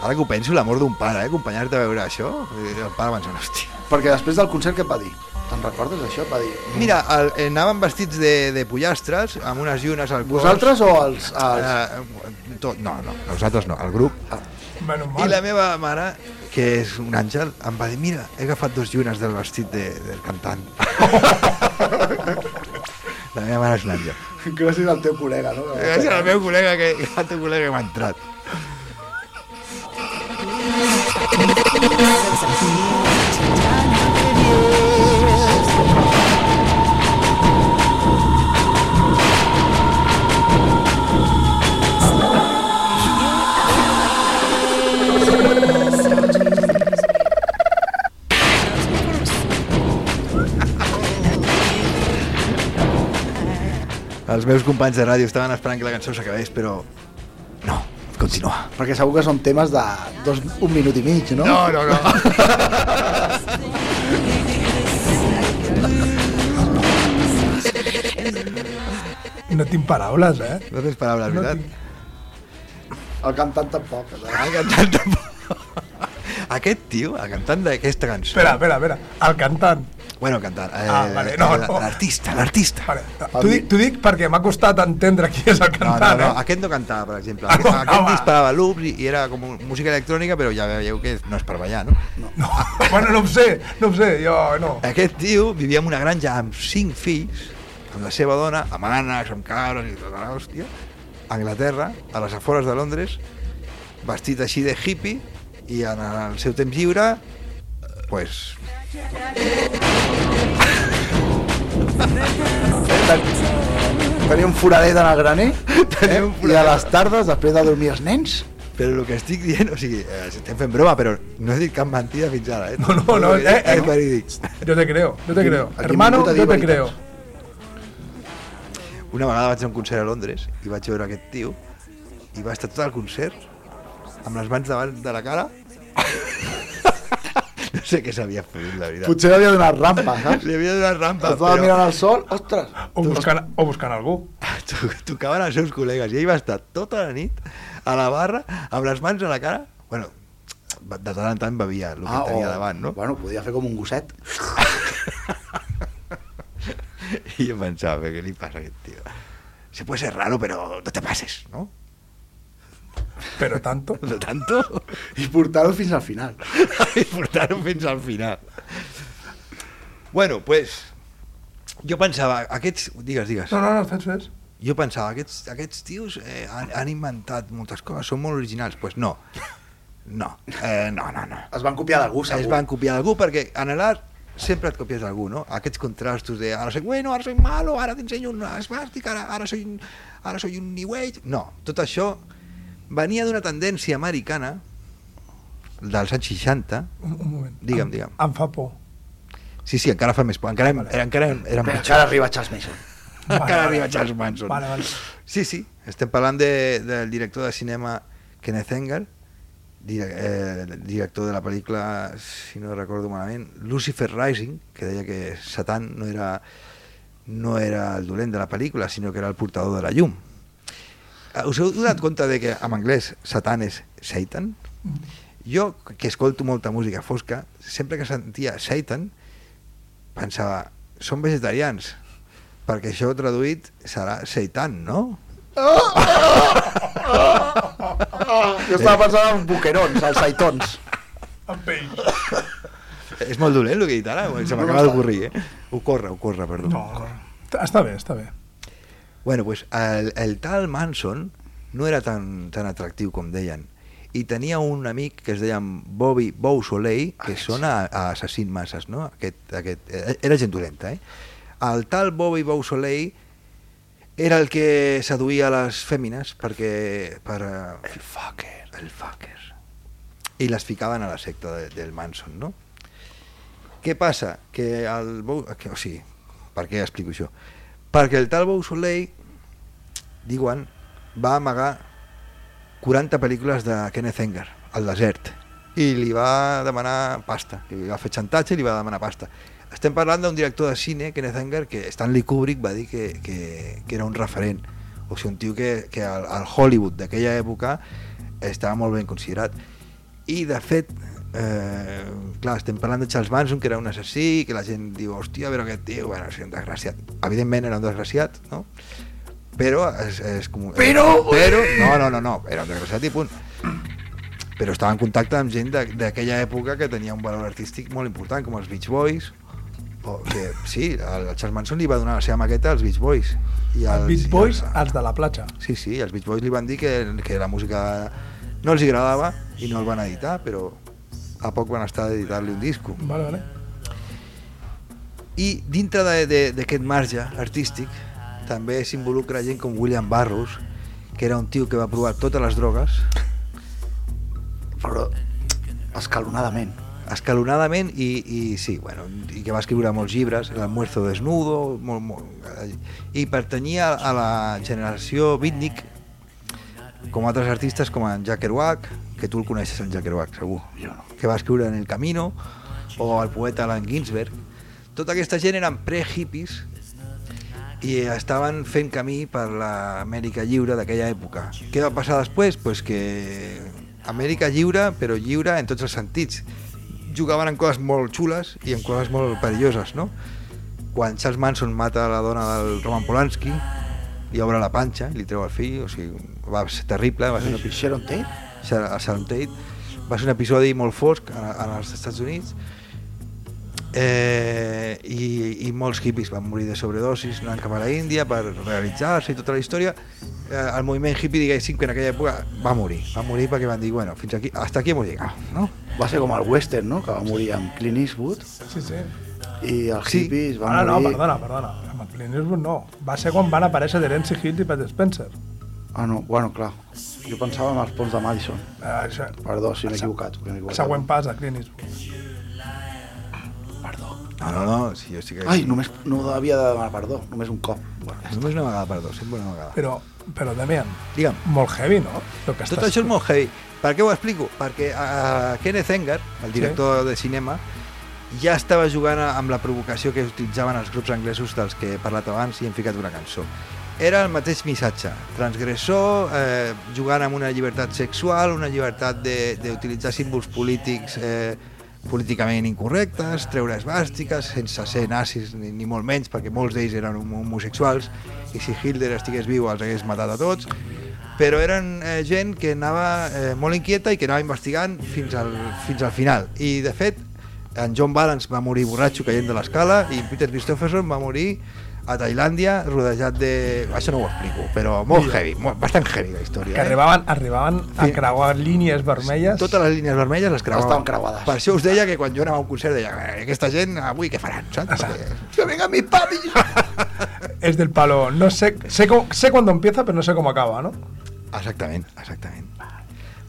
Ara que ho penso, l'amor d'un pare, eh? Acompanyar-te a veure això. Eh, El pare pensant, hòstia.
Perquè després del concert què et va dir? Te'n recordes d'això? Et Va dir...
Mira, el, eh, anaven vestits de, de pollastres, amb unes llunes al cos.
Vosaltres o els... els...
Eh, tot, no, no, nosaltres no, el grup.
Menos
I
mal.
la meva mare, que és un àngel, em va dir, mira, he agafat dos llunes del vestit de, del cantant. la meva mare és un àngel.
Gràcies al teu col·lega, no?
Gràcies al meu col·lega, que, al teu col·lega que m'ha entrat. Els meus companys de ràdio estaven esperant que la cançó s'acabés, però no, continua.
Perquè segur que són temes de dos, un minut i mig, no?
No, no, no.
No tinc paraules, eh?
No tens paraules,
No
veritat?
tinc-
El cantant tampoc. No?
El cantant tampoc. Aquest tio, el cantant d'aquesta cançó,
Espera, espera, espera. El cantant.
Bueno, cantar. Eh,
Ah, vale, no,
la-
no.
L'artista, l'artista.
Vale, T'ho dic, t'ho dic perquè m'ha costat entendre qui és el
No,
cantant,
no, no,
eh?
aquest no cantava, per exemple.
Ah, no,
aquest
home.
disparava loops i, i era com música electrònica, però ja veieu que no és per ballar, no? no.
No, eh? bueno, no ho sé, no ho sé, jo no.
Aquest tio vivia en una granja amb cinc fills, amb la seva dona, amb ànecs, amb cabres i tota l'hòstia, a Anglaterra, a les afores de Londres, vestit així de hippie, i en el seu temps lliure, eh, pues,
Tenia un foradet en el graner
Tenia un
eh? i a
foradet.
les tardes, després de dormir els nens,
Però el que estic dient, o sigui, eh, estem fent broma, però no he dit cap mentida fins ara, eh?
No, no, no,
El que he dit
eh, eh,
és verídic.
Yo te creo, yo te
Aquí-
creo.
aquí
Hermano,
ningú t'ha dit
yo te
veritats.
creo.
Una vegada vaig a un concert a Londres i vaig veure aquest tio i va estar tot el concert amb les mans davant de la cara. no sé què s'havia fet, la veritat.
potser havia donat rampa, saps?
Li havia donat rampa,
Estava
però
mirant al sol, ostres! Doncs,
O buscant, o buscant algú.
to- tocaven els seus col·legues i ell va estar tota la nit a la barra amb les mans a la cara. Bueno, va- de tant en tant bevia el que
oh.
tenia davant, no?
ah, Bueno, podia fer com un gosset.
Y yo pensaba, ¿qué le pasa a aquest tío? Se puede ser raro, pero no te pases, ¿no?
Pero tanto.
No tanto.
I portar-ho fins al final.
y portaron fins al final. Bueno, pues... Jo pensava, aquests... Digues, digues.
No, no, no, fes, fes.
Jo pensava, aquests, aquests tios eh, han, han inventat moltes coses, són molt originals. Pues no. No. Eh, no, no, no.
Es van copiar d'algú, segur.
es van copiar d'algú, perquè en l'art sempre et copies d'algú, no? Aquests contrastos de ara soy bueno, ara soy malo, ara t'ensenyo una esmàstica, ara, ara, soy, un- ara soy un new age... No, tot això venia d'una tendència americana dels anys 60,
Un, un moment.
Digue'm,
Em-
digue'm.
Em fa por.
sí, sí, encara fa més por, encara, era, encara era
Però
pitjor,
encara arriba Charles Mason.
encara arriba Charles Manson.
Vale, vale.
Sí, sí, estem parlant de, del director de cinema Kenneth Engel, dire, eh, director de la pel·lícula, si no recordo malament, Lucifer Rising, que deia que Satan no era, no era el dolent de la pel·lícula, sinó que era el portador de la llum. Eh, Us heu donat compte de que en anglès Satan és Satan? Jo, que escolto molta música fosca, sempre que sentia Satan, pensava, són vegetarians, perquè això traduït serà Seitan, no? Ah.
Jo estava pensant en boquerons, els saitons.
Em pell.
És molt dolent el que he dit ara, se m'acaba d'ocorrir, eh? Ocorre, ocorre, perdó.
No, no. Està bé, està bé.
Bueno, pues el, el tal Manson no era tan, tan atractiu com deien i tenia un amic que es deia Bobby Beausoleil, que sona a, a assassin masses, no? Aquest, aquest, eh, era gent dolenta, eh? El tal Bobby Beausoleil era el que seduïa les fèmines perquè... Per, el fucker. El fucker. I les ficaven a la secta de, del Manson, no? Què passa? Que el... Bou- Que, o sigui, per què explico això? Perquè el tal Beausoleil, diuen, va amagar 40 pel·lícules de Kenneth Anger al desert i li va demanar pasta, que li va fer xantatge i li va demanar pasta. Estem parlant d'un director de cine, Kenneth Anger, que Stanley Kubrick va dir que, que, que era un referent, o sigui, un tio que, que al, al Hollywood d'aquella època estava molt ben considerat. I, de fet, eh, clar, estem parlant de Charles Manson, que era un assassí, que la gent diu, hòstia, però aquest tio, bueno, és un desgraciat. Evidentment era un desgraciat, no? Però és, és com... Però... però... No, no, no, no, era un desgraciat i punt. Però estava en contacte amb gent de- d'aquella època que tenia un valor artístic molt important, com els Beach Boys, o que, sí, el Charles Manson li va donar la seva maqueta als Beach Boys. I
Els Beach Boys,
i
els de la platja.
Sí, sí, els Beach Boys li van dir que, que la música no els hi agradava i no el van editar, però a poc van estar d'editar-li un disco.
Vale, vale.
I dintre de- de- d'aquest marge artístic també s'involucra gent com William Burroughs, que era un tio que va provar totes les drogues,
Però escalonadament.
escalonadament i, i sí, bueno, i que va escriure molts llibres, l'almuerzo desnudo, molt, molt, i pertanyia a la generació beatnik com altres artistes com en Jack Kerouac, que tu el coneixes en Jack Kerouac, segur, que va escriure en El Camino, o el poeta Allen Ginsberg. Tota aquesta gent eren pre-hippies i estaven fent camí per l'Amèrica lliure d'aquella època. Què va passar després? Pues que Amèrica lliure, però lliure en tots els sentits. jugaven en coses molt xules i en coses molt perilloses, no? Quan Charles Manson mata la dona del Roman Polanski i obre la panxa, i li treu el fill, o sigui, va ser terrible,
Ah,
va ser una epi-
Sharon Tate?
Sha- a Sharon Tate, va ser un episodi molt fosc en, en els Estats Units eh, i, i molts hippies van morir de sobredosis anant cap a la Índia per realitzar-se i tota la història eh, el moviment hippie diguéssim que en aquella època va morir va morir perquè van dir, bueno, fins aquí, hasta aquí hemos llegado no?
Va ser com el western, no? Que va morir amb Clint Eastwood
Sí, sí.
i els
Sí.
hippies van
Ah, no,
morir...
perdona, perdona. Amb el Clint Eastwood no. Va ser quan van aparèixer Terence Hill i Pat Spencer.
Ah, no, bueno, clar. Jo pensava en els ponts de Madison.
Eh, això,
Perdó, si m'he equivocat. Si m'he
el
equivocat.
següent pas de Clint Eastwood.
no, no, no si jo estic aquí.
Ai, només no havia de demanar perdó, només un cop. Bueno,
només una vegada, perdó, sempre una vegada
Però, però Damian,
digue'm
molt heavy, no? El que
Tot
Eh, estàs-
això és molt heavy. Per què ho explico? Perquè uh, Kenneth Enger, el director sí. de cinema, ja estava jugant a- amb la provocació que utilitzaven els grups anglesos dels que he parlat abans i hem ficat una cançó. Era el mateix missatge, transgressor, eh, jugant amb una llibertat sexual, una llibertat de- d'utilitzar símbols polítics eh, políticament incorrectes, treure esbàstiques, sense ser nazis ni, ni molt menys, perquè molts d'ells eren homo- homosexuals, i si Hitler estigués viu els hagués matat a tots, però eren eh, gent que anava eh, molt inquieta i que anava investigant fins al, fins al final. I, de fet, en John Balance va morir borratxo caient de l'escala i Peter Christopherson va morir a Tailàndia rodejat de... Això no ho explico, però molt heavy, molt, bastant heavy la història.
que arribaven, arribaven a
Sí. Tota
creuar línies vermelles.
Totes les línies vermelles les creuaven.
Estaven creuades.
Per això us deia que quan jo anava a un concert deia "Eh, aquesta gent avui què faran, saps? Perquè, "Que venga mi papi!
Es del palo, no sé, sé, com, sé cuándo empieza, pero no sé cómo acaba, ¿no?
exactament, exactament.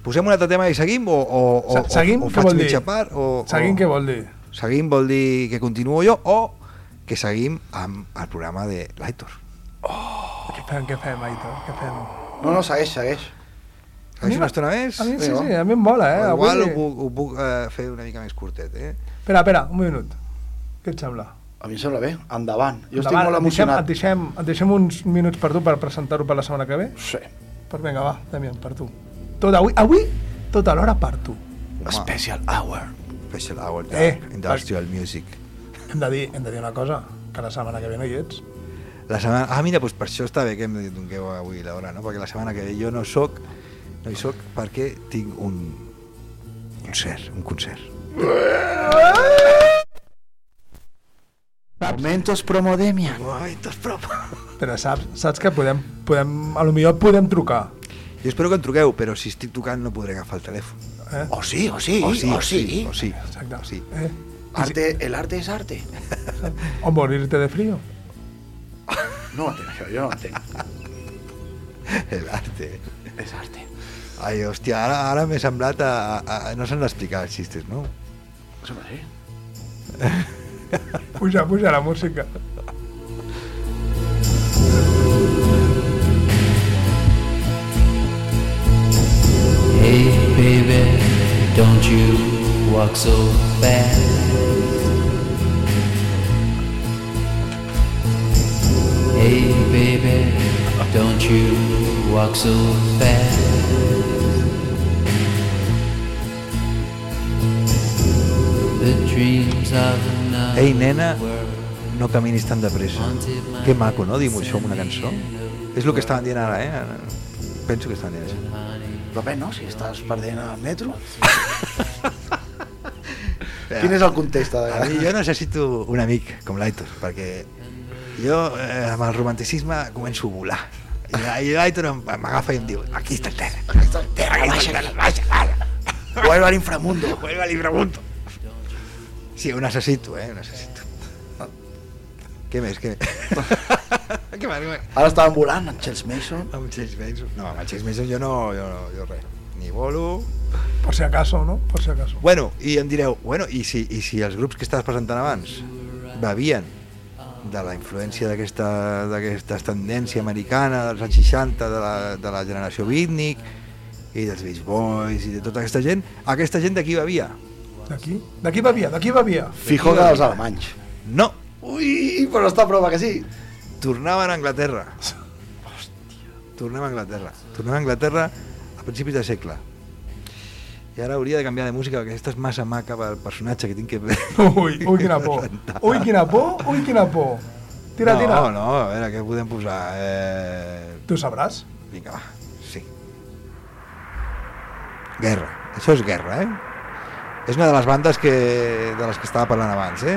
Posem un altre tema i seguim o, o, o,
Se- seguim,
o, o
què
faig
vol dir?
mitja part o,
Seguim
o...
què vol dir?
Seguim vol dir que continuo jo o que seguim amb el programa de l'Aitor.
Què fem, què fem, Aitor? Què fem?
No, no, segueix, segueix.
Seguim una estona més?
A mi sí,
Vinga.
sí, a mi em mola, eh?
O
Avui...
Igual ho puc, ho puc eh, fer una mica més curtet, eh?
Espera, espera, un minut. Què et sembla?
A mi em sembla bé, endavant. Jo estic
Endavant, Em
molt
et deixem, et
emocionat.
deixem, et deixem uns minuts per tu per presentar-ho per la setmana que ve?
Sí.
Pues vinga, va, Damián, per tu. Tot avui, avui, tota l'hora per tu.
Special Hour.
Special hour,
Eh,
eh, industrial music.
Hem de dir, hem de dir una cosa, que la setmana que ve no hi ets.
La setmana... Ah, mira, doncs per això està bé que em dongueu avui l'hora, no? Perquè la setmana que ve jo no soc, no hi soc perquè tinc un concert, un concert.
Momentos promodemia.
Ai, t'has prop.
Però saps, saps que podem, podem, a lo millor podem trucar.
Jo espero que em truqueu, però si estic tocant no podré agafar el telèfon.
Eh?
O Oh, sí, o sí,
oh,
o sí, o sí.
Exacte.
O sí.
Eh?
Arte, el arte es arte.
O morir-te de frío.
No ho entenc, això, jo no ho entenc.
El arte.
És arte.
Ai, hòstia, ara, ara m'he semblat a, a, a... No s'han d'explicar els xistes, no?
Sembla així.
Puja, puja la música.
Hey, baby, don't you walk so fast. Hey, baby, don't you walk so fast. The dreams of another
Ei, nena,
world
no caminis tan de pressa.
haunted my
Que maco, no, dir-ho això amb una cançó? És el que estaven dient ara, eh? Penso que estaven dient això.
Però bé, no? Si estàs perdent el metro... Quin és el context?
A mi
De...
jo necessito un amic com l'Aitor, perquè jo eh, amb el romanticisme començo a volar. I la- I l'Aitor em- m'agafa i em diu, aquí està el terra, aquí està el terra, aquí està el terra, baixa, baixa.
Vuelve al inframundo.
Vuelva, li pregunto. Sí, ho necessito, eh, ho necessito. Oh. Què més, què més? què més, què més?
Ara estaven volant amb Charles Mason.
Ah, Amb Chase Mason. No, amb el Chase Mason jo no, jo, no, jo res. Ni volo,
Por si acaso, no? Por si acaso.
Bueno, i em direu, bueno, i si, i si els grups que estaves presentant abans bevien de la influència d'aquesta d'aquesta tendència americana dels anys 60, de la, de la generació Beatnik i dels Beach Boys i de tota aquesta gent, aquesta gent d'aquí bevia?
D'aquí? D'aquí va via, d'aquí va via.
Fijo que dels alemanys.
No,
Ui, però està a prova que sí.
tornaven a Anglaterra. Hòstia. Tornem a Anglaterra. Tornem a Anglaterra a principis de segle. I ara hauria de canviar de música, perquè aquesta és massa maca pel personatge que tinc que...
Ui, ui, quina por. Ui, quina por, ui, quina por. Tira,
no,
tira.
No, no, a veure, què podem posar? Eh...
Tu sabràs?
Vinga, va, sí. Guerra. Això és guerra, eh? És una de les bandes que... de les que estava parlant abans, eh?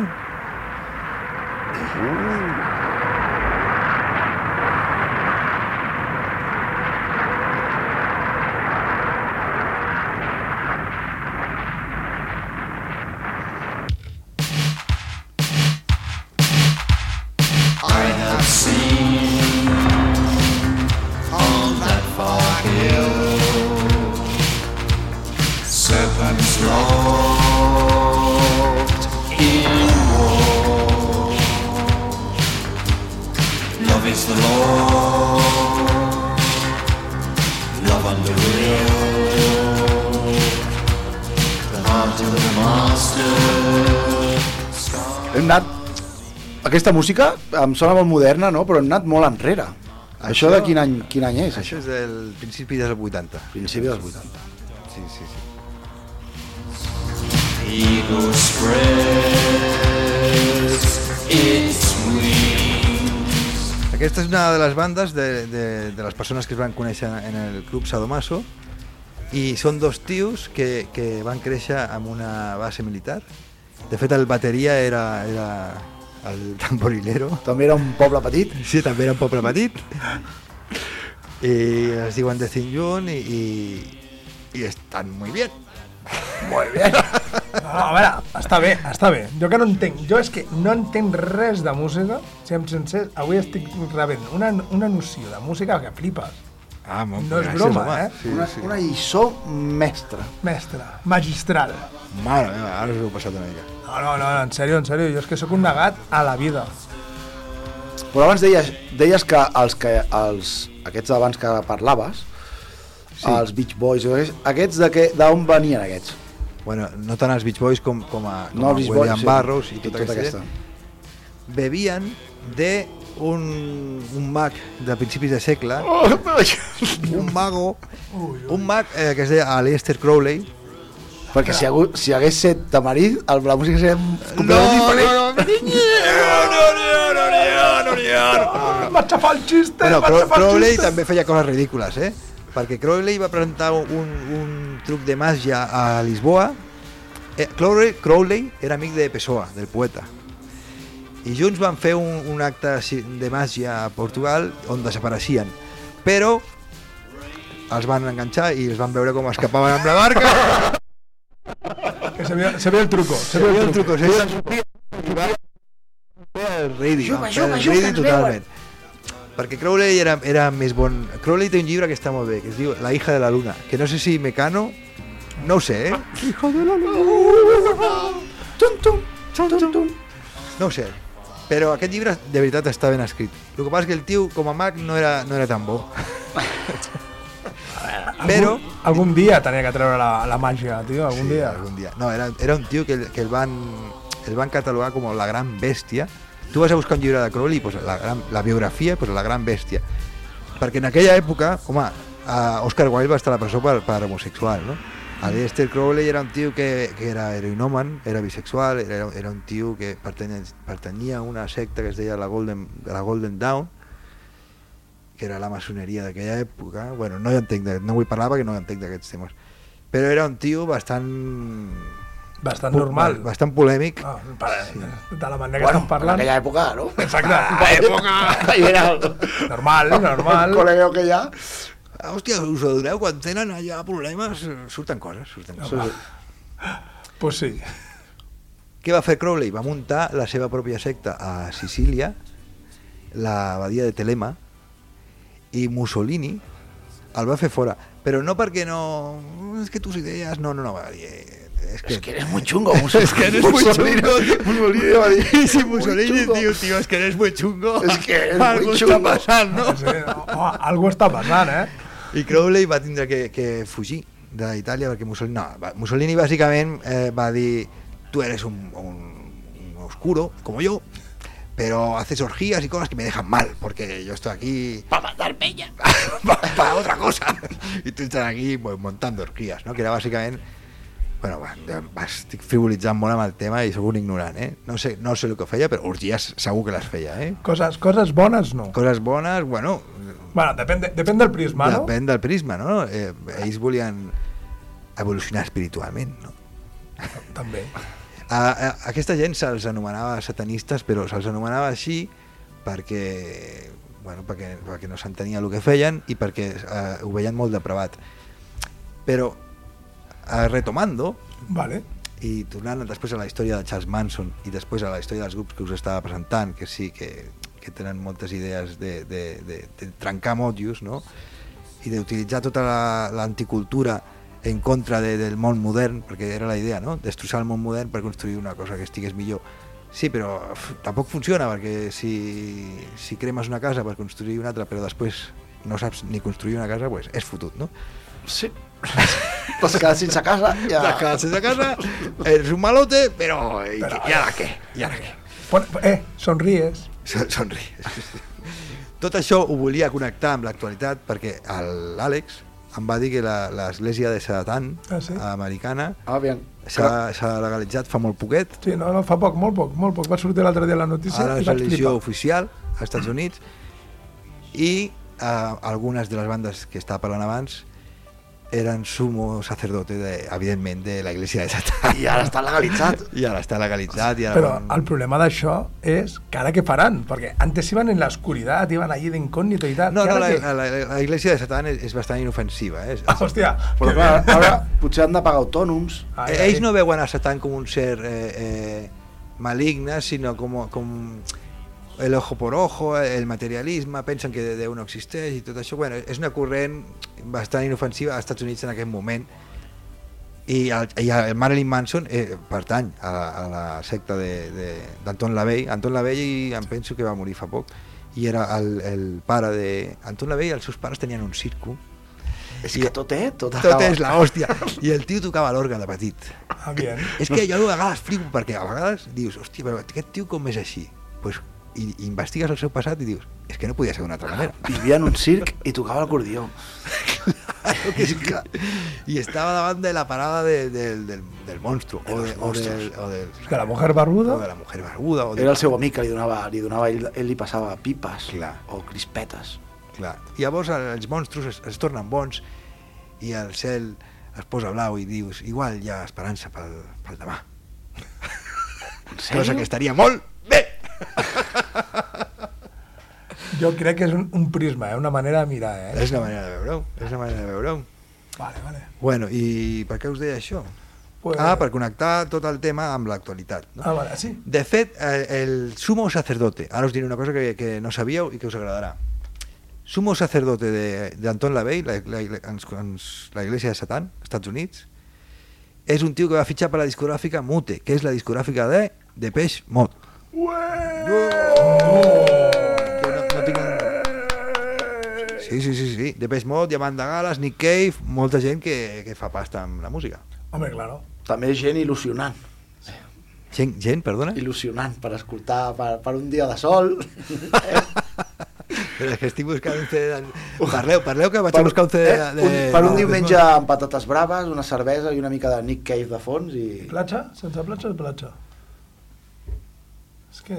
Hem anat... Aquesta música em sona molt moderna, no? Però hem anat molt enrere. Això, de quin any, quin any és, això?
Això és del principi dels 80.
Principi dels 80.
Sí, sí, sí.
Eagle spreads its wings.
Aquesta és una de les bandes de, de, de les persones que es van conèixer en el club Sadomaso i són dos tios que, que van créixer amb una base militar. De fet, el bateria era, era el tamborilero.
També era un poble petit.
Sí, també era un poble petit. I es diuen The Thin June i, i, i estan molt bé. Molt bé.
No, a veure, està bé, està bé. Jo que no entenc, jo és que no entenc res de música, si em sincer, avui estic rebent una, una noció de música que flipes.
Ah, molt,
No és
gràcies,
broma,
home.
eh?
Sí,
Una,
sí.
una lliçó mestra.
Mestre, magistral.
Mare meva, ara us heu passat una mica.
No, no, no, en sèrio, en sèrio, jo és que sóc un negat a la vida.
Però abans deies, deies que, els que els, aquests d'abans que parlaves, sí. els Beach Boys, o aquests- aquests de què- d'on venien aquests?
Bueno, no tant els Beach Boys com, com a, com
No,
a
els Beach
William
Boys, sí.
Barrows
I
i, tot
tota
tota aquesta. gent. Bevien de un, un mag de principis de segle, un mago, un mag eh, que es deia Aleister Crowley.
Perquè si, hagut, si hagués set tamarit, el, la música seria completament diferent.
no, no, no, no, no, no,
Ah, m'ha xafat el xiste,
Bueno,
m'ha
Cro
xafat el
Crowley
xiste.
també feia coses ridícules, eh? Perquè Crowley va presentar un, un truc de màgia a Lisboa. Eh, Crowley, Crowley era amic de Pessoa, del poeta. I junts van fer un, un acte si- de màgia a Portugal on desapareixien. Però els van enganxar i els van veure com escapaven amb la barca.
Que se ve, se ve el truco, se ve
Sabia
el
el
truco.
truco, sí. I va fer el Reedy, va fer el Reedy totalment. Perquè Crowley era, era més bon... Crowley té un llibre que està molt bé, que es diu La hija de la luna, que no sé si Mecano... No ho sé, eh? Hijo de la luna... Tum, tum, tum, tum, tum. No ho sé, però aquest llibre de veritat està ben escrit. El que passa és que el tio, com a mag, no era, no era tan bo. Però...
Algun dia tenia que treure la, la màgia, tio, algun
Sí,
dia.
algún día. No, era, era un tío que, que el, van, el van catalogar como la gran bestia. Tú vas a buscar un llibre de Crowley, pues la, gran, la biografia, pues la gran bestia. Perquè en aquella època, home, a Oscar Wilde va estar a la presó per, per homosexual, no? Aleister Crowley era un tio que, que era heroinoman, era bisexual, era, era un tio que pertanyia, pertanyia a una secta que es deia la Golden, la Golden Dawn, que era la maçoneria d'aquella època. Bueno, no hi entenc, de, no vull parlar perquè no hi entenc d'aquests temes. Però era un tio bastant...
Bastant normal.
Bastant polèmic.
Ah, per- de la manera que estan
Bueno, en
parlant.
aquella època, no?
Exacte.
Ahí era el,
Normal, normal.
el col·lego que hi ha.
Ah, hòstia, us adoneu, quan tenen allà problemes, eh, surten coses,
Ah,
surten coses.
Pues sí.
Què va fer Crowley? Va muntar la seva pròpia secta a Sicília, l'abadia de Telema, i Mussolini el va fer fora. Però no perquè no... És que tus idees... No, no, no, va dir... eh, És que,
Es que eres muy chungo, Mussolini.
Es que eres muy chungo.
Mussolini va dir...
Y si
"Muy
Mussolini,
chungo".
tío, tío, es que eres muy chungo.
Es que eres
Algo
muy
está
chungo.
pasando.
sí. Oh, algo està passant, eh?
I Crowley va tindre que, que fugir d'Itàlia perquè Mussolini... No, va- Mussolini bàsicament eh, va dir tu eres un, un, un oscuro, como yo, pero haces orgías y cosas que me dejan mal, porque yo estoy aquí... Para matar peña. para, otra cosa. y tú estás aquí pues, montando orgías, ¿no? Que era básicamente Bueno, va, ja va- estic frivolitzant molt amb el tema i sóc un ignorant, eh? No sé, no sé el que feia, però orgies segur que les feia, eh?
Coses, coses bones no.
Coses bones, bueno,
Bueno, depèn, de, depèn del prisma, no?
depèn del prisma, no? Eh, ells volien evolucionar espiritualment, no?
També.
A, a, aquesta gent se'ls anomenava satanistes, però se'ls anomenava així perquè, bueno, perquè, perquè no s'entenia el que feien i perquè eh, ho veien molt depravat. Però, eh, retomando,
Vale.
i tornant després a la història de Charles Manson i després a la història dels grups que us estava presentant que sí, que, que tenen moltes idees de, de, de, de trencar motius no? i d'utilitzar tota la- l'anticultura en contra de, del món modern perquè era la idea, no? destrossar el món modern per construir una cosa que estigués millor sí, però uf, tampoc funciona perquè si, si cremes una casa per construir una altra però després no saps ni construir una casa, pues, és fotut, no?
Sí. T'has quedat sense casa? Ja.
T'has quedat sense casa, ets un malote, però, i, i ara què? I ara què?
Pon- Eh, somries.
Son- Somries. Tot això ho volia connectar amb l'actualitat perquè el- l'Àlex em va dir que la- l'església de Satan
Ah, sí?
americana
Ah, bien.
s'ha s'ha legalitzat fa molt poquet
Sí, no, no, fa poc, molt poc, molt poc. Va sortir l'altre dia la notícia
ara
i
és
vaig
religió
flipar.
oficial als Estats Units i eh, algunes de les bandes que estava parlant abans eren sumo sacerdote de, evidentment de la iglesia de Satan
I ara està legalitzat.
i ara està legalitzat i ara
Però
van-
el problema d'això és que ara què faran? Perquè antes iban en la oscuridad, iban allí d'incògnito i tal.
No,
I
no,
ara
la,
què?
la, la, la iglesia de Satan és, és bastant inofensiva. Eh?
Ah, hòstia.
Però clar, ara potser han de pagar autònoms.
Ai,
Eh,
ai.
Ells no veuen a Satan com un ser eh, eh, maligne, sinó com, com el ojo por ojo, el materialisme, pensen que Déu no existeix i tot això. Bueno, és una corrent bastant inofensiva als Estats Units en aquest moment. I el, i el Marilyn Manson eh, pertany a la, a la secta de- de- d'Anton LaVey. Anton LaVey em penso que va morir fa poc i era el, el pare de... Anton LaVey i els seus pares tenien un circo.
És que tot, eh? Tot,
Tot és la hòstia. I el tio tocava l'orgue de petit.
Ah, bien.
És que jo a vegades flipo, perquè a vegades dius, hòstia, però aquest tio com és així? Pues, i, i investigues el seu passat i dius, és que no podia ser d'una altra manera.
Vivia en un circ i tocava l'acordió.
És que- I estava davant de la parada de, del, del, del monstru, o, de, o, del, o, del,
De la mujer barbuda.
o de la mujer barbuda. O de,
Era el seu amic que li donava, li donava ell, ell li passava pipes
Clar.
o crispetes.
Clar. Llavors els monstros es, es tornen bons i el cel es posa blau i dius, igual hi ha esperança pel, pel demà.
En
Cosa que
sèrio?
estaria molt bé!
Jo crec que és un, un prisma, eh? una manera de mirar. Eh?
És una manera de veure-ho, és una manera de veure-ho.
Vale, vale.
Bueno, i per què us deia això?
Pues-
Ah, per connectar tot el tema amb l'actualitat. No?
Ah, vale, sí.
De fet, eh, el sumo sacerdote, ara us diré una cosa que, que no sabíeu i que us agradarà. Sumo sacerdote de- d'Anton LaVey, la, la, la, ens- ens- la Iglesia de Satan, Estats Units, és un tio que va fitxar per la discogràfica Mute, que és la discogràfica de Depeche Mode. Ué! Que no, no tinc... Sí, sí, sí, sí. Depeche Mode, Diamant de Gales, Nick Cave, molta gent que, que fa pasta amb la música.
Home, claro.
També gent il·lusionant.
Gent, gent perdona?
Il·lusionant per escoltar per, per un dia de sol. Eh?
Però és que estic buscant un CD... De... Parleu, parleu que vaig a buscar un CD de...
Eh? un,
de-
per un
de-
diumenge amb patates braves, una cervesa i una mica de Nick Cave de fons i...
Platja? Sense platja o platja? És que...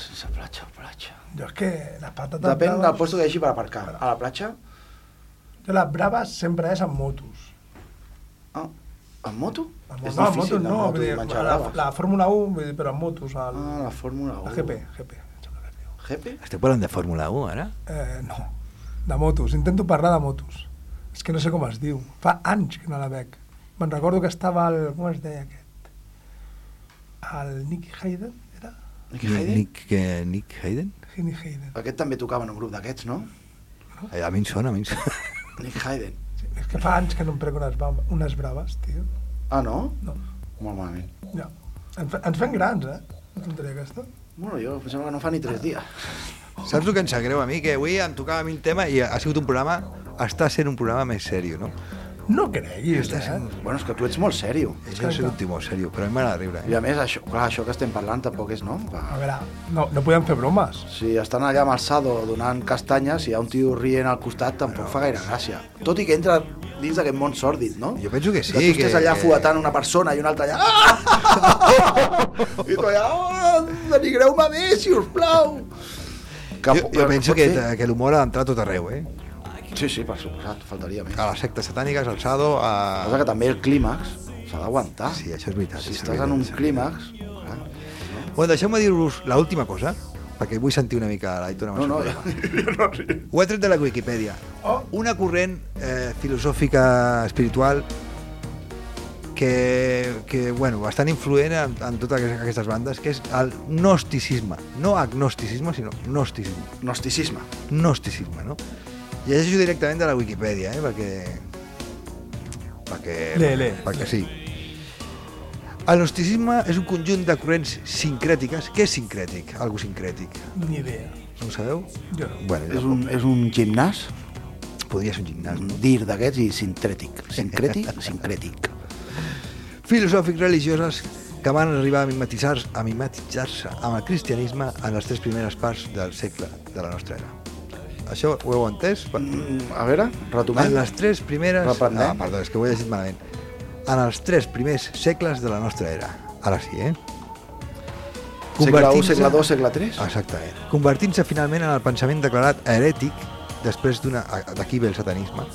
Sense platja, platja.
Jo és que les patates...
Depèn del
braves-
lloc que hi hagi per aparcar. A la platja?
Jo les braves sempre és amb motos.
Ah, amb moto?
Amb,
És
no, amb
difícil,
motos no,
amb moto
vull dir,
i menjar
la,
braves.
la Fórmula 1, vull dir, però amb motos. El,
Ah, la Fórmula 1.
la GP, GP. em sembla que es diu.
GP?
Esteu parlant de Fórmula 1, ara?
Eh, no, de motos. Intento parlar de motos. És que no sé com es diu. Fa anys que no la veig. Me'n recordo que estava el... Com es deia aquest? El Nicky Hayden, era?
Nick Hayden?
Nick, que, Nick Hayden?
Nicky Hayden.
Aquest també tocava en un grup d'aquests, no?
Eh, A mi em sona, a mi em sona.
Nick Hayden.
Sí, és que fa anys que no em prego unes, ba- unes braves, tio.
Ah, no?
No.
Molt malament.
Ja. Ens, fa- ens fan grans, eh? No tonteria aquesta.
Bueno, jo em sembla que no fa ni tres dies.
Saps el que em sap greu a mi? Que avui em tocava a mi el tema i ha sigut un programa... Està sent un programa més seriós, no?
No creguis,
Estàs-
eh?
Bueno, és que tu ets molt sèrio.
Jo no soy un timó, serio, però a mi m'agrada riure. eh?
I a més, això, clar, això que estem parlant tampoc és, no?
A veure, no, no podem fer bromes.
Si estan allà amb el Sado donant castanyes i hi ha un tio rient al costat, tampoc fa gaire gràcia. Tot i que entra dins d'aquest món sòrdid, no?
Jo penso que sí,
Que tu estàs
que-
allà fuetant una persona i una altra allà... I tu allà... Oh,
"Ah,
denigreu-me més, si us plau!
Jo, jo
però
penso
pot
que,
ser.
que l'humor ha d'entrar a tot arreu, eh?
Sí, sí, per suposat, faltaria més.
A les sectes satàniques, al sado,
Passa
a...
que també el clímax s'ha d'aguantar.
Sí, això és veritat,
Si
és
estàs
veritat,
en un
és
clímax... clar.
Bueno, deixeu-me dir-vos l'última cosa, perquè vull sentir una mica l'Aitona
No, Oh. no,
Massorrell.
ja.
Ho he tret de la Wikipedia. Una corrent eh, filosòfica espiritual que, que bueno, bastant influent en, en totes aqu- aquestes bandes, que és el gnosticisme. No agnosticisme, sinó gnosticisme.
Gnosticisme.
Gnosticisme, no? Llegeixo directament de la Wikipedia, eh, perquè... perquè
Lee, lee.
Perquè sí. El gnosticisme és un conjunt de corrents sincrètiques. Què és sincrètic? Algo sincrètic.
Ni idea.
No ho sabeu?
Jo no.
Bueno,
És un, és un gimnàs,
podria ser un gimnàs,
un
no?
dir d'aquests i sintètic. Sincrètic, sincrètic.
filosòfics religioses que van arribar a mimetitzar-se a mimetitzar-se amb el cristianisme en les tres primeres parts del segle de la nostra era. Això ho heu entès?
Mm, A veure,
En
retomem.
les tres primeres...
Reprenem.
Ah, perdó, és que ho he llegit malament. En els tres primers segles de la nostra era. Ara sí, eh?
Segle I,
Convertint-se-
segle II, segle III.
Exactament. Convertint-se finalment en el pensament declarat herètic després d'una... D'aquí ve el satanisme.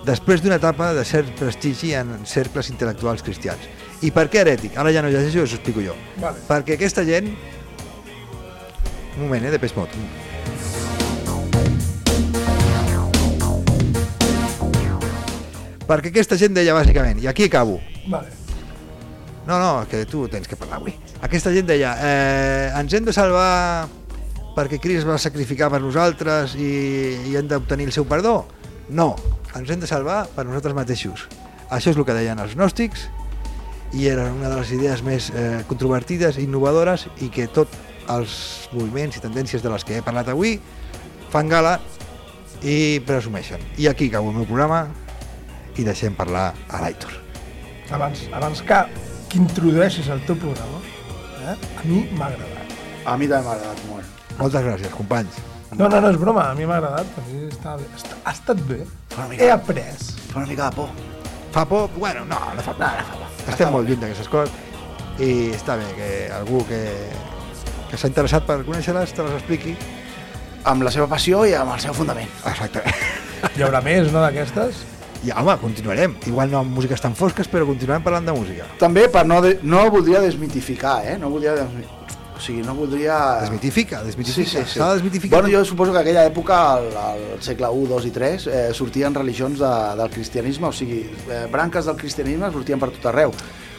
Després d'una etapa de cert prestigi en cercles intel·lectuals cristians. I per què herètic? Ara ja no llegeixo, us ho explico jo.
Vale.
Perquè aquesta gent... Un moment, eh, de pes mot. Perquè aquesta gent deia bàsicament, i aquí acabo,
Vale.
no, no, que tu tens que parlar avui. Aquesta gent deia, eh, ens hem de salvar perquè Crist va sacrificar per nosaltres i, i hem d'obtenir el seu perdó? No, ens hem de salvar per nosaltres mateixos. Això és el que deien els gnòstics i era una de les idees més eh, controvertides, innovadores i que tot els moviments i tendències de les que he parlat avui fan gala i presumeixen. I aquí acabo el meu programa i deixem parlar a l'Aitor.
Abans, abans que, que introdueixis el teu programa, eh? a mi m'ha agradat.
A mi també m'ha agradat molt.
Moltes gràcies, companys.
No, no, no, és broma, a mi m'ha agradat, a mi està bé. Està, ha estat bé,
Fa una mica-
he après.
Fa una mica de por.
Fa por? Bueno, no, no fa por. No, no fa por. Estem molt lluny d'aquestes coses i està bé que algú que, que s'ha interessat per conèixer-les te les expliqui.
Amb la seva passió i amb el seu fundament.
Exacte.
Hi haurà més, no, d'aquestes?
I home, continuarem. Igual no amb músiques tan fosques, però continuarem parlant de música.
També per no, de, no voldria desmitificar, eh? No voldria... Desmi... O sigui, no voldria...
Desmitifica,
Sí,
desmitifica.
Ah. sí, sí.
S'ha de desmitificar.
Bueno, jo suposo que en aquella època, al, al segle I, II i III, eh, sortien religions de, del cristianisme, o sigui, eh, branques del cristianisme sortien per tot arreu.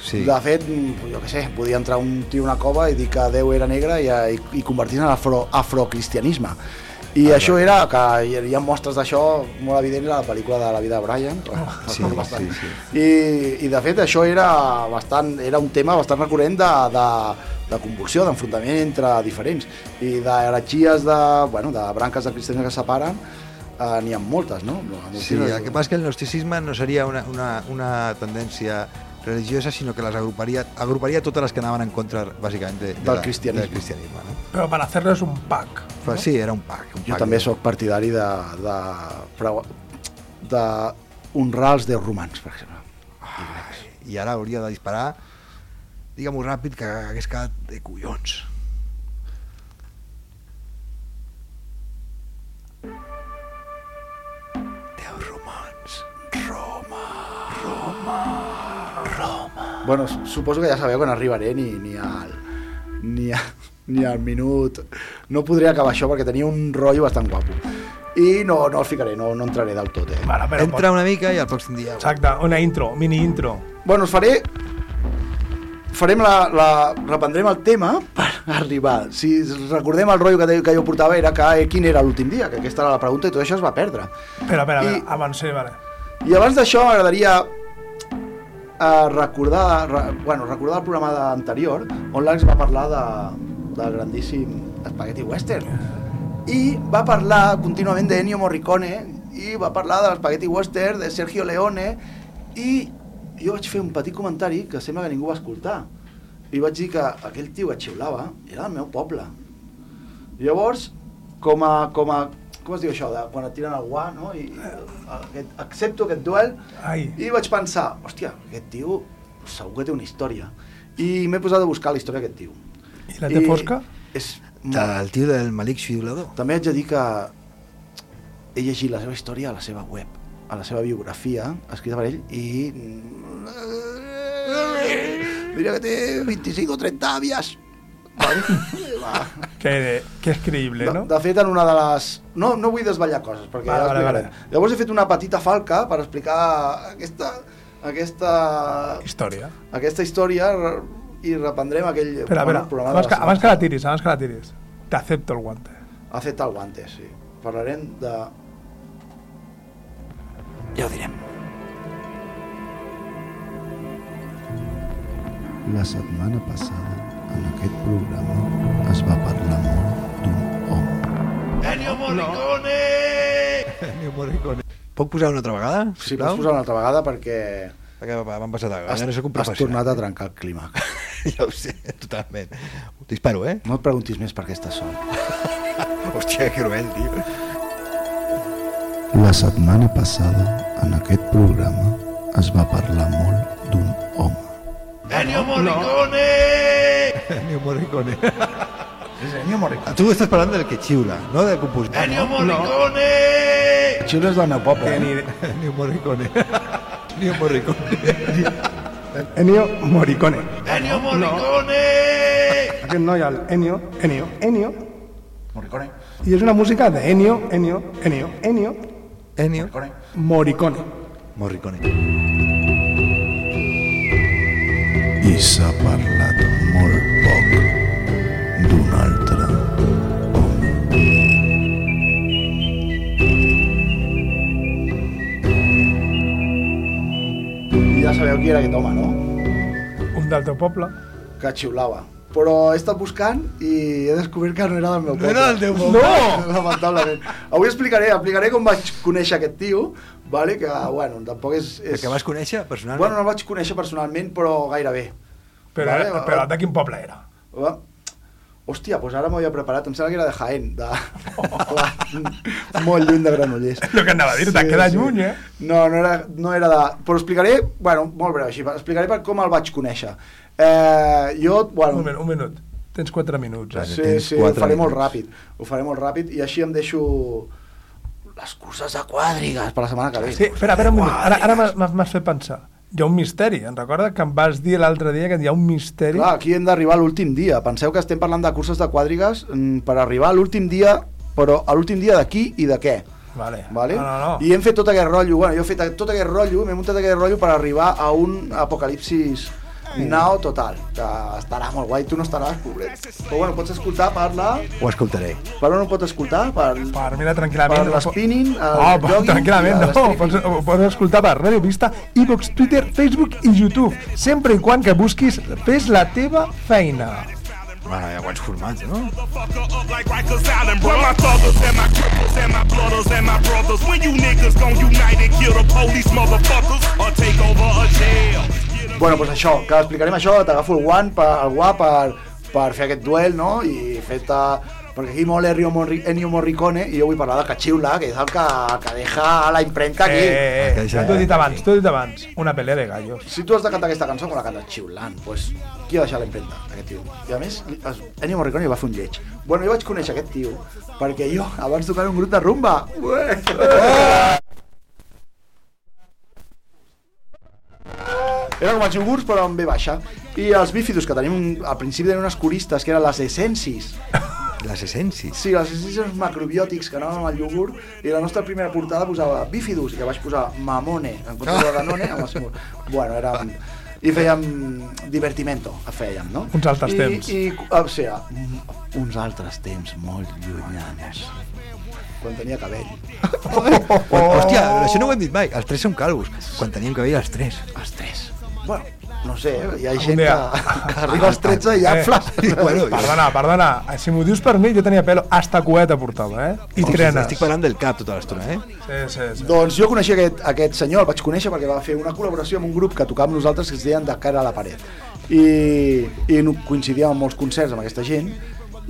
Sí.
De fet, mm, jo què sé, podia entrar un tio a una cova i dir que Déu era negre i, i, i convertir-se en afro, afrocristianisme. I ah, això era que hi hi ha mostres d'això molt evidents a la pel·lícula de la vida de Brian.
Ah, Sí, sí, sí.
I, i de fet això era bastant era un tema bastant recurrent de, de, de convulsió, d'enfrontament entre diferents i d'heretgies de, bueno, de branques de cristianisme que es separen eh, n'hi ha moltes, no?
Sí, el que passa és que el gnosticisme no seria una, una, una tendència religiosa, sinó que les agruparia, agruparia totes les que anaven en contra, bàsicament, de, de
Del
la-
cristianisme.
Del cristianisme no?
Però per fer-les un pack.
Però sí, era un pack. Un
Jo
pack
també
de-
sóc partidari de, de, preu- de honrar els déus romans, per exemple.
i ara hauria de disparar digue-m'ho ràpid que hagués quedat de collons Déu romans Roma
Bueno, su- suposo que ja sabeu que no arribaré ni, ni al... Ni, a, ni al minut... No podré acabar això perquè tenia un rotllo bastant guapo. I no, no el ficaré, no, no entraré del tot, eh?
Vale, però
entra una mica i al pròxim dia
Exacte, una intro, mini intro.
Bueno, us faré... Farem la, la, reprendrem el tema per arribar. Si recordem el rotllo que, te- que jo portava era que eh, quin era l'últim dia, que aquesta era la pregunta i tot això es va perdre.
Espera, espera, I...
I-
avancem, vale.
I abans d'això m'agradaria eh, recordar, re, bueno, recordar el programa de- anterior on l'Ax va parlar de, del grandíssim Spaghetti Western i va parlar contínuament de Ennio Morricone i i va parlar de l'Espagueti Western de Sergio Leone i jo vaig fer un petit comentari que sembla que ningú va escoltar i vaig dir que aquell tio que xiulava era del meu poble llavors com a, com a com es diu això, de quan et tiren el guà no? i eh, aquest, accepto aquest duel
Ai.
i vaig pensar, hòstia, aquest tio segur que té una història i m'he posat a buscar la història d'aquest tio
I la té fosca?
és
Del tio del Malik Xiulador.
també haig de dir que he llegit la seva història a la seva web, a la seva biografia, escrita per ell, i... Diria que té 25 o 30 àvies. Va.
Que, que es creïble,
De,
no?
de fet, en una de les... No, no vull desvetllar coses, perquè
Vale,
ja
vale,
explicaré.
vale.
Llavors he fet una petita falca per explicar aquesta, aquesta,
Història.
aquesta història re- i reprendrem aquell
Espera, espera,
programa de
abans que,
la setmana
abans que la tiris, abans que la tiris. Te acepto el guante.
Ha fet el guante, sí. Parlarem de... Ja ho direm.
La setmana passada, en aquest programa, es va parlar molt d'un home.
Puc posar una altra vegada?
Sí, pots posar una altra vegada perquè
Perquè m'han passat a...
has,
Ja no sóc un
has
professional.
tornat a trencar el clima.
Ja ho sé, totalment. Ho disparo, eh?
No et preguntis més per què estàs sol.
Hòstia, que cruel, tio.
La setmana passada, en aquest programa, es va parlar molt d'un home.
Ennio Morricone.
És Ennio Morricone.
Tu estàs parlant del que xiula, no del compositor. Ennio
Xilo és del meu poble. Eh?
Ennio Morricone. Ennio Morricone.
Ennio Morricone. Ennio Morricone! No. Aquest noi, el Ennio, Ennio, Ennio,
Morricone.
i és una música de Ennio, Ennio, Ennio, Ennio,
Ennio
Morricone.
Morricone.
I s'ha parlat molt poc d'un altre home.
I ja sabeu qui era aquest home, no?
Un del teu poble.
Que xiulava. Però he estat buscant i he descobert que no era del meu poble.
era del teu poble.
No! Lamentablement. Avui explicaré, explicaré com vaig conèixer aquest tio, vale? que, bueno, tampoc és... és...
El que vas conèixer personalment.
Bueno, no el vaig conèixer personalment, però gairebé.
Però,
Vale,
era,
va-
però de quin poble era?
Va. Hòstia, doncs ara m'havia preparat, em sembla que era de Jaén, de... molt lluny de Granollers.
Lo Oh. que anava a dir, te queda lluny, eh?
No, no era, no era de... Però explicaré, bueno, molt breu així, explicaré per com el vaig conèixer. Eh, jo,
Un
bueno,
minut, un minut. Tens 4 minuts. Eh?
sí,
tens
sí, ho
quatre
faré molt
minuts.
ràpid, ho faré molt ràpid i així em deixo les curses de quadrigues per la setmana que ve.
Sí, espera, espera un minut. Ara, ara m'has- m'has m'has fet pensar. Hi ha un misteri. Em recorda que em vas dir l'altre dia que hi ha un misteri.
Clar, aquí hem d'arribar a l'últim dia. Penseu que estem parlant de curses de quadrigues mm, per arribar a l'últim dia, però a l'últim dia de qui i de què.
Vale.
Vale?
No, no, no.
I hem fet tot aquest rotllo, bueno, jo he fet tot aquest rotllo, m'he muntat aquest rotllo per arribar a un apocalipsis nao total, que estarà molt guai, tu no estaràs, pobret. Però bueno, pots escoltar, parla,
Ho escoltaré.
per on ho pots escoltar? Per,
Per, mira, tranquil·lament.
Per
no po-
l'spinning, el
Oh, per-
jogging
tranquil·lament,
i el
no.
stripping.
Pots, ho pots escoltar per Radio Vista, iVox, Twitter, Facebook i YouTube. Sempre i quan que busquis, fes la teva feina.
Bueno, ja ho has format, no?
Motherfucker up like Rikers Island, bro. My thuggers and my cripples and my blooders and my brothers. When you niggas gon' unite and kill the police, motherfuckers, or take over a jail. Get 'em
Bueno, doncs això, que explicarem això, t'agafo el guant per, el guà per, per fer aquest duel, no? I fer-te... Perquè aquí molt Ennio Morri, Ennio Morricone i jo vull parlar de Cachiula, que és el que, que deja la impremta aquí.
Eh, eh,
Aquí,
t'ho he dit abans, t'ho he dit abans. Una pelea de gallos.
Si tu has de cantar aquesta cançó, com la cantes xiulant, doncs qui ha deixat l'empremta, aquest tio? I a més, li- es- Ennio Morricone li va fer un lleig. Bueno, jo vaig conèixer aquest tio perquè jo abans tocava en un grup de rumba. Eh! Ué! Era com els iogurts, però amb B baixa. I els bífidos, que tenim un, al principi tenien unes coristes, que eren les essencis.
Les essències.
Sí, les essencis eren uns macrobiòtics que anaven amb el iogurt i la nostra primera portada posava bífidus i que vaig posar mamone en comptes de danone amb el símbol. Bueno, era... I fèiem divertimento, fèiem, no?
Uns altres
I,
temps.
I, o sigui, mm, uns altres temps molt llunyans. Quan tenia cabell.
Oh! Hòstia, això no ho hem dit mai. Els tres som calvos. Quan teníem cabell, els tres.
Els tres. Bueno, No sé, hi ha
Un
gent
dia.
que, que arriba als 13 i ja
Eh,
flas.
bueno,
Perdona, perdona, si m'ho dius per mi, jo tenia pelo hasta cueta portava, eh? I
Hòstia,
trenes.
Estic parlant del cap tota l'estona, eh?
Sí, sí, sí.
Doncs jo coneixia aquest, aquest senyor, el vaig conèixer perquè va fer una col·laboració amb un grup que tocava amb nosaltres que es deien De cara a la paret. I, i no- coincidíem amb molts concerts amb aquesta gent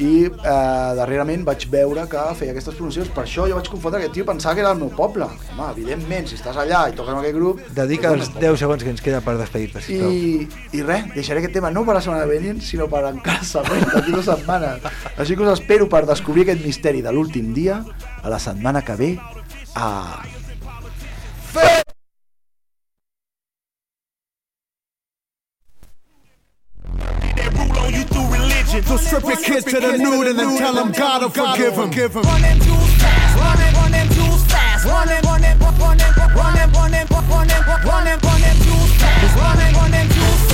i eh, darrerament vaig veure que feia aquestes promocions, per això jo vaig confondre aquest tio pensava que era el meu poble. Home, evidentment, si estàs allà i toques amb aquest grup...
Dedica
és el
els
meu poble.
10 segons que ens queda per despedir-te, sisplau.
I, I res, deixaré aquest tema no per la setmana venint, sinó per encara següent, d'aquí dues setmanes. Així que us espero per descobrir aquest misteri de l'últim dia, a la setmana que ve, a...
that rule on you through religion.
So strip your kids to the nude and then tell them God will forgive them.
Running, running, running, running, running, running, running, running, running,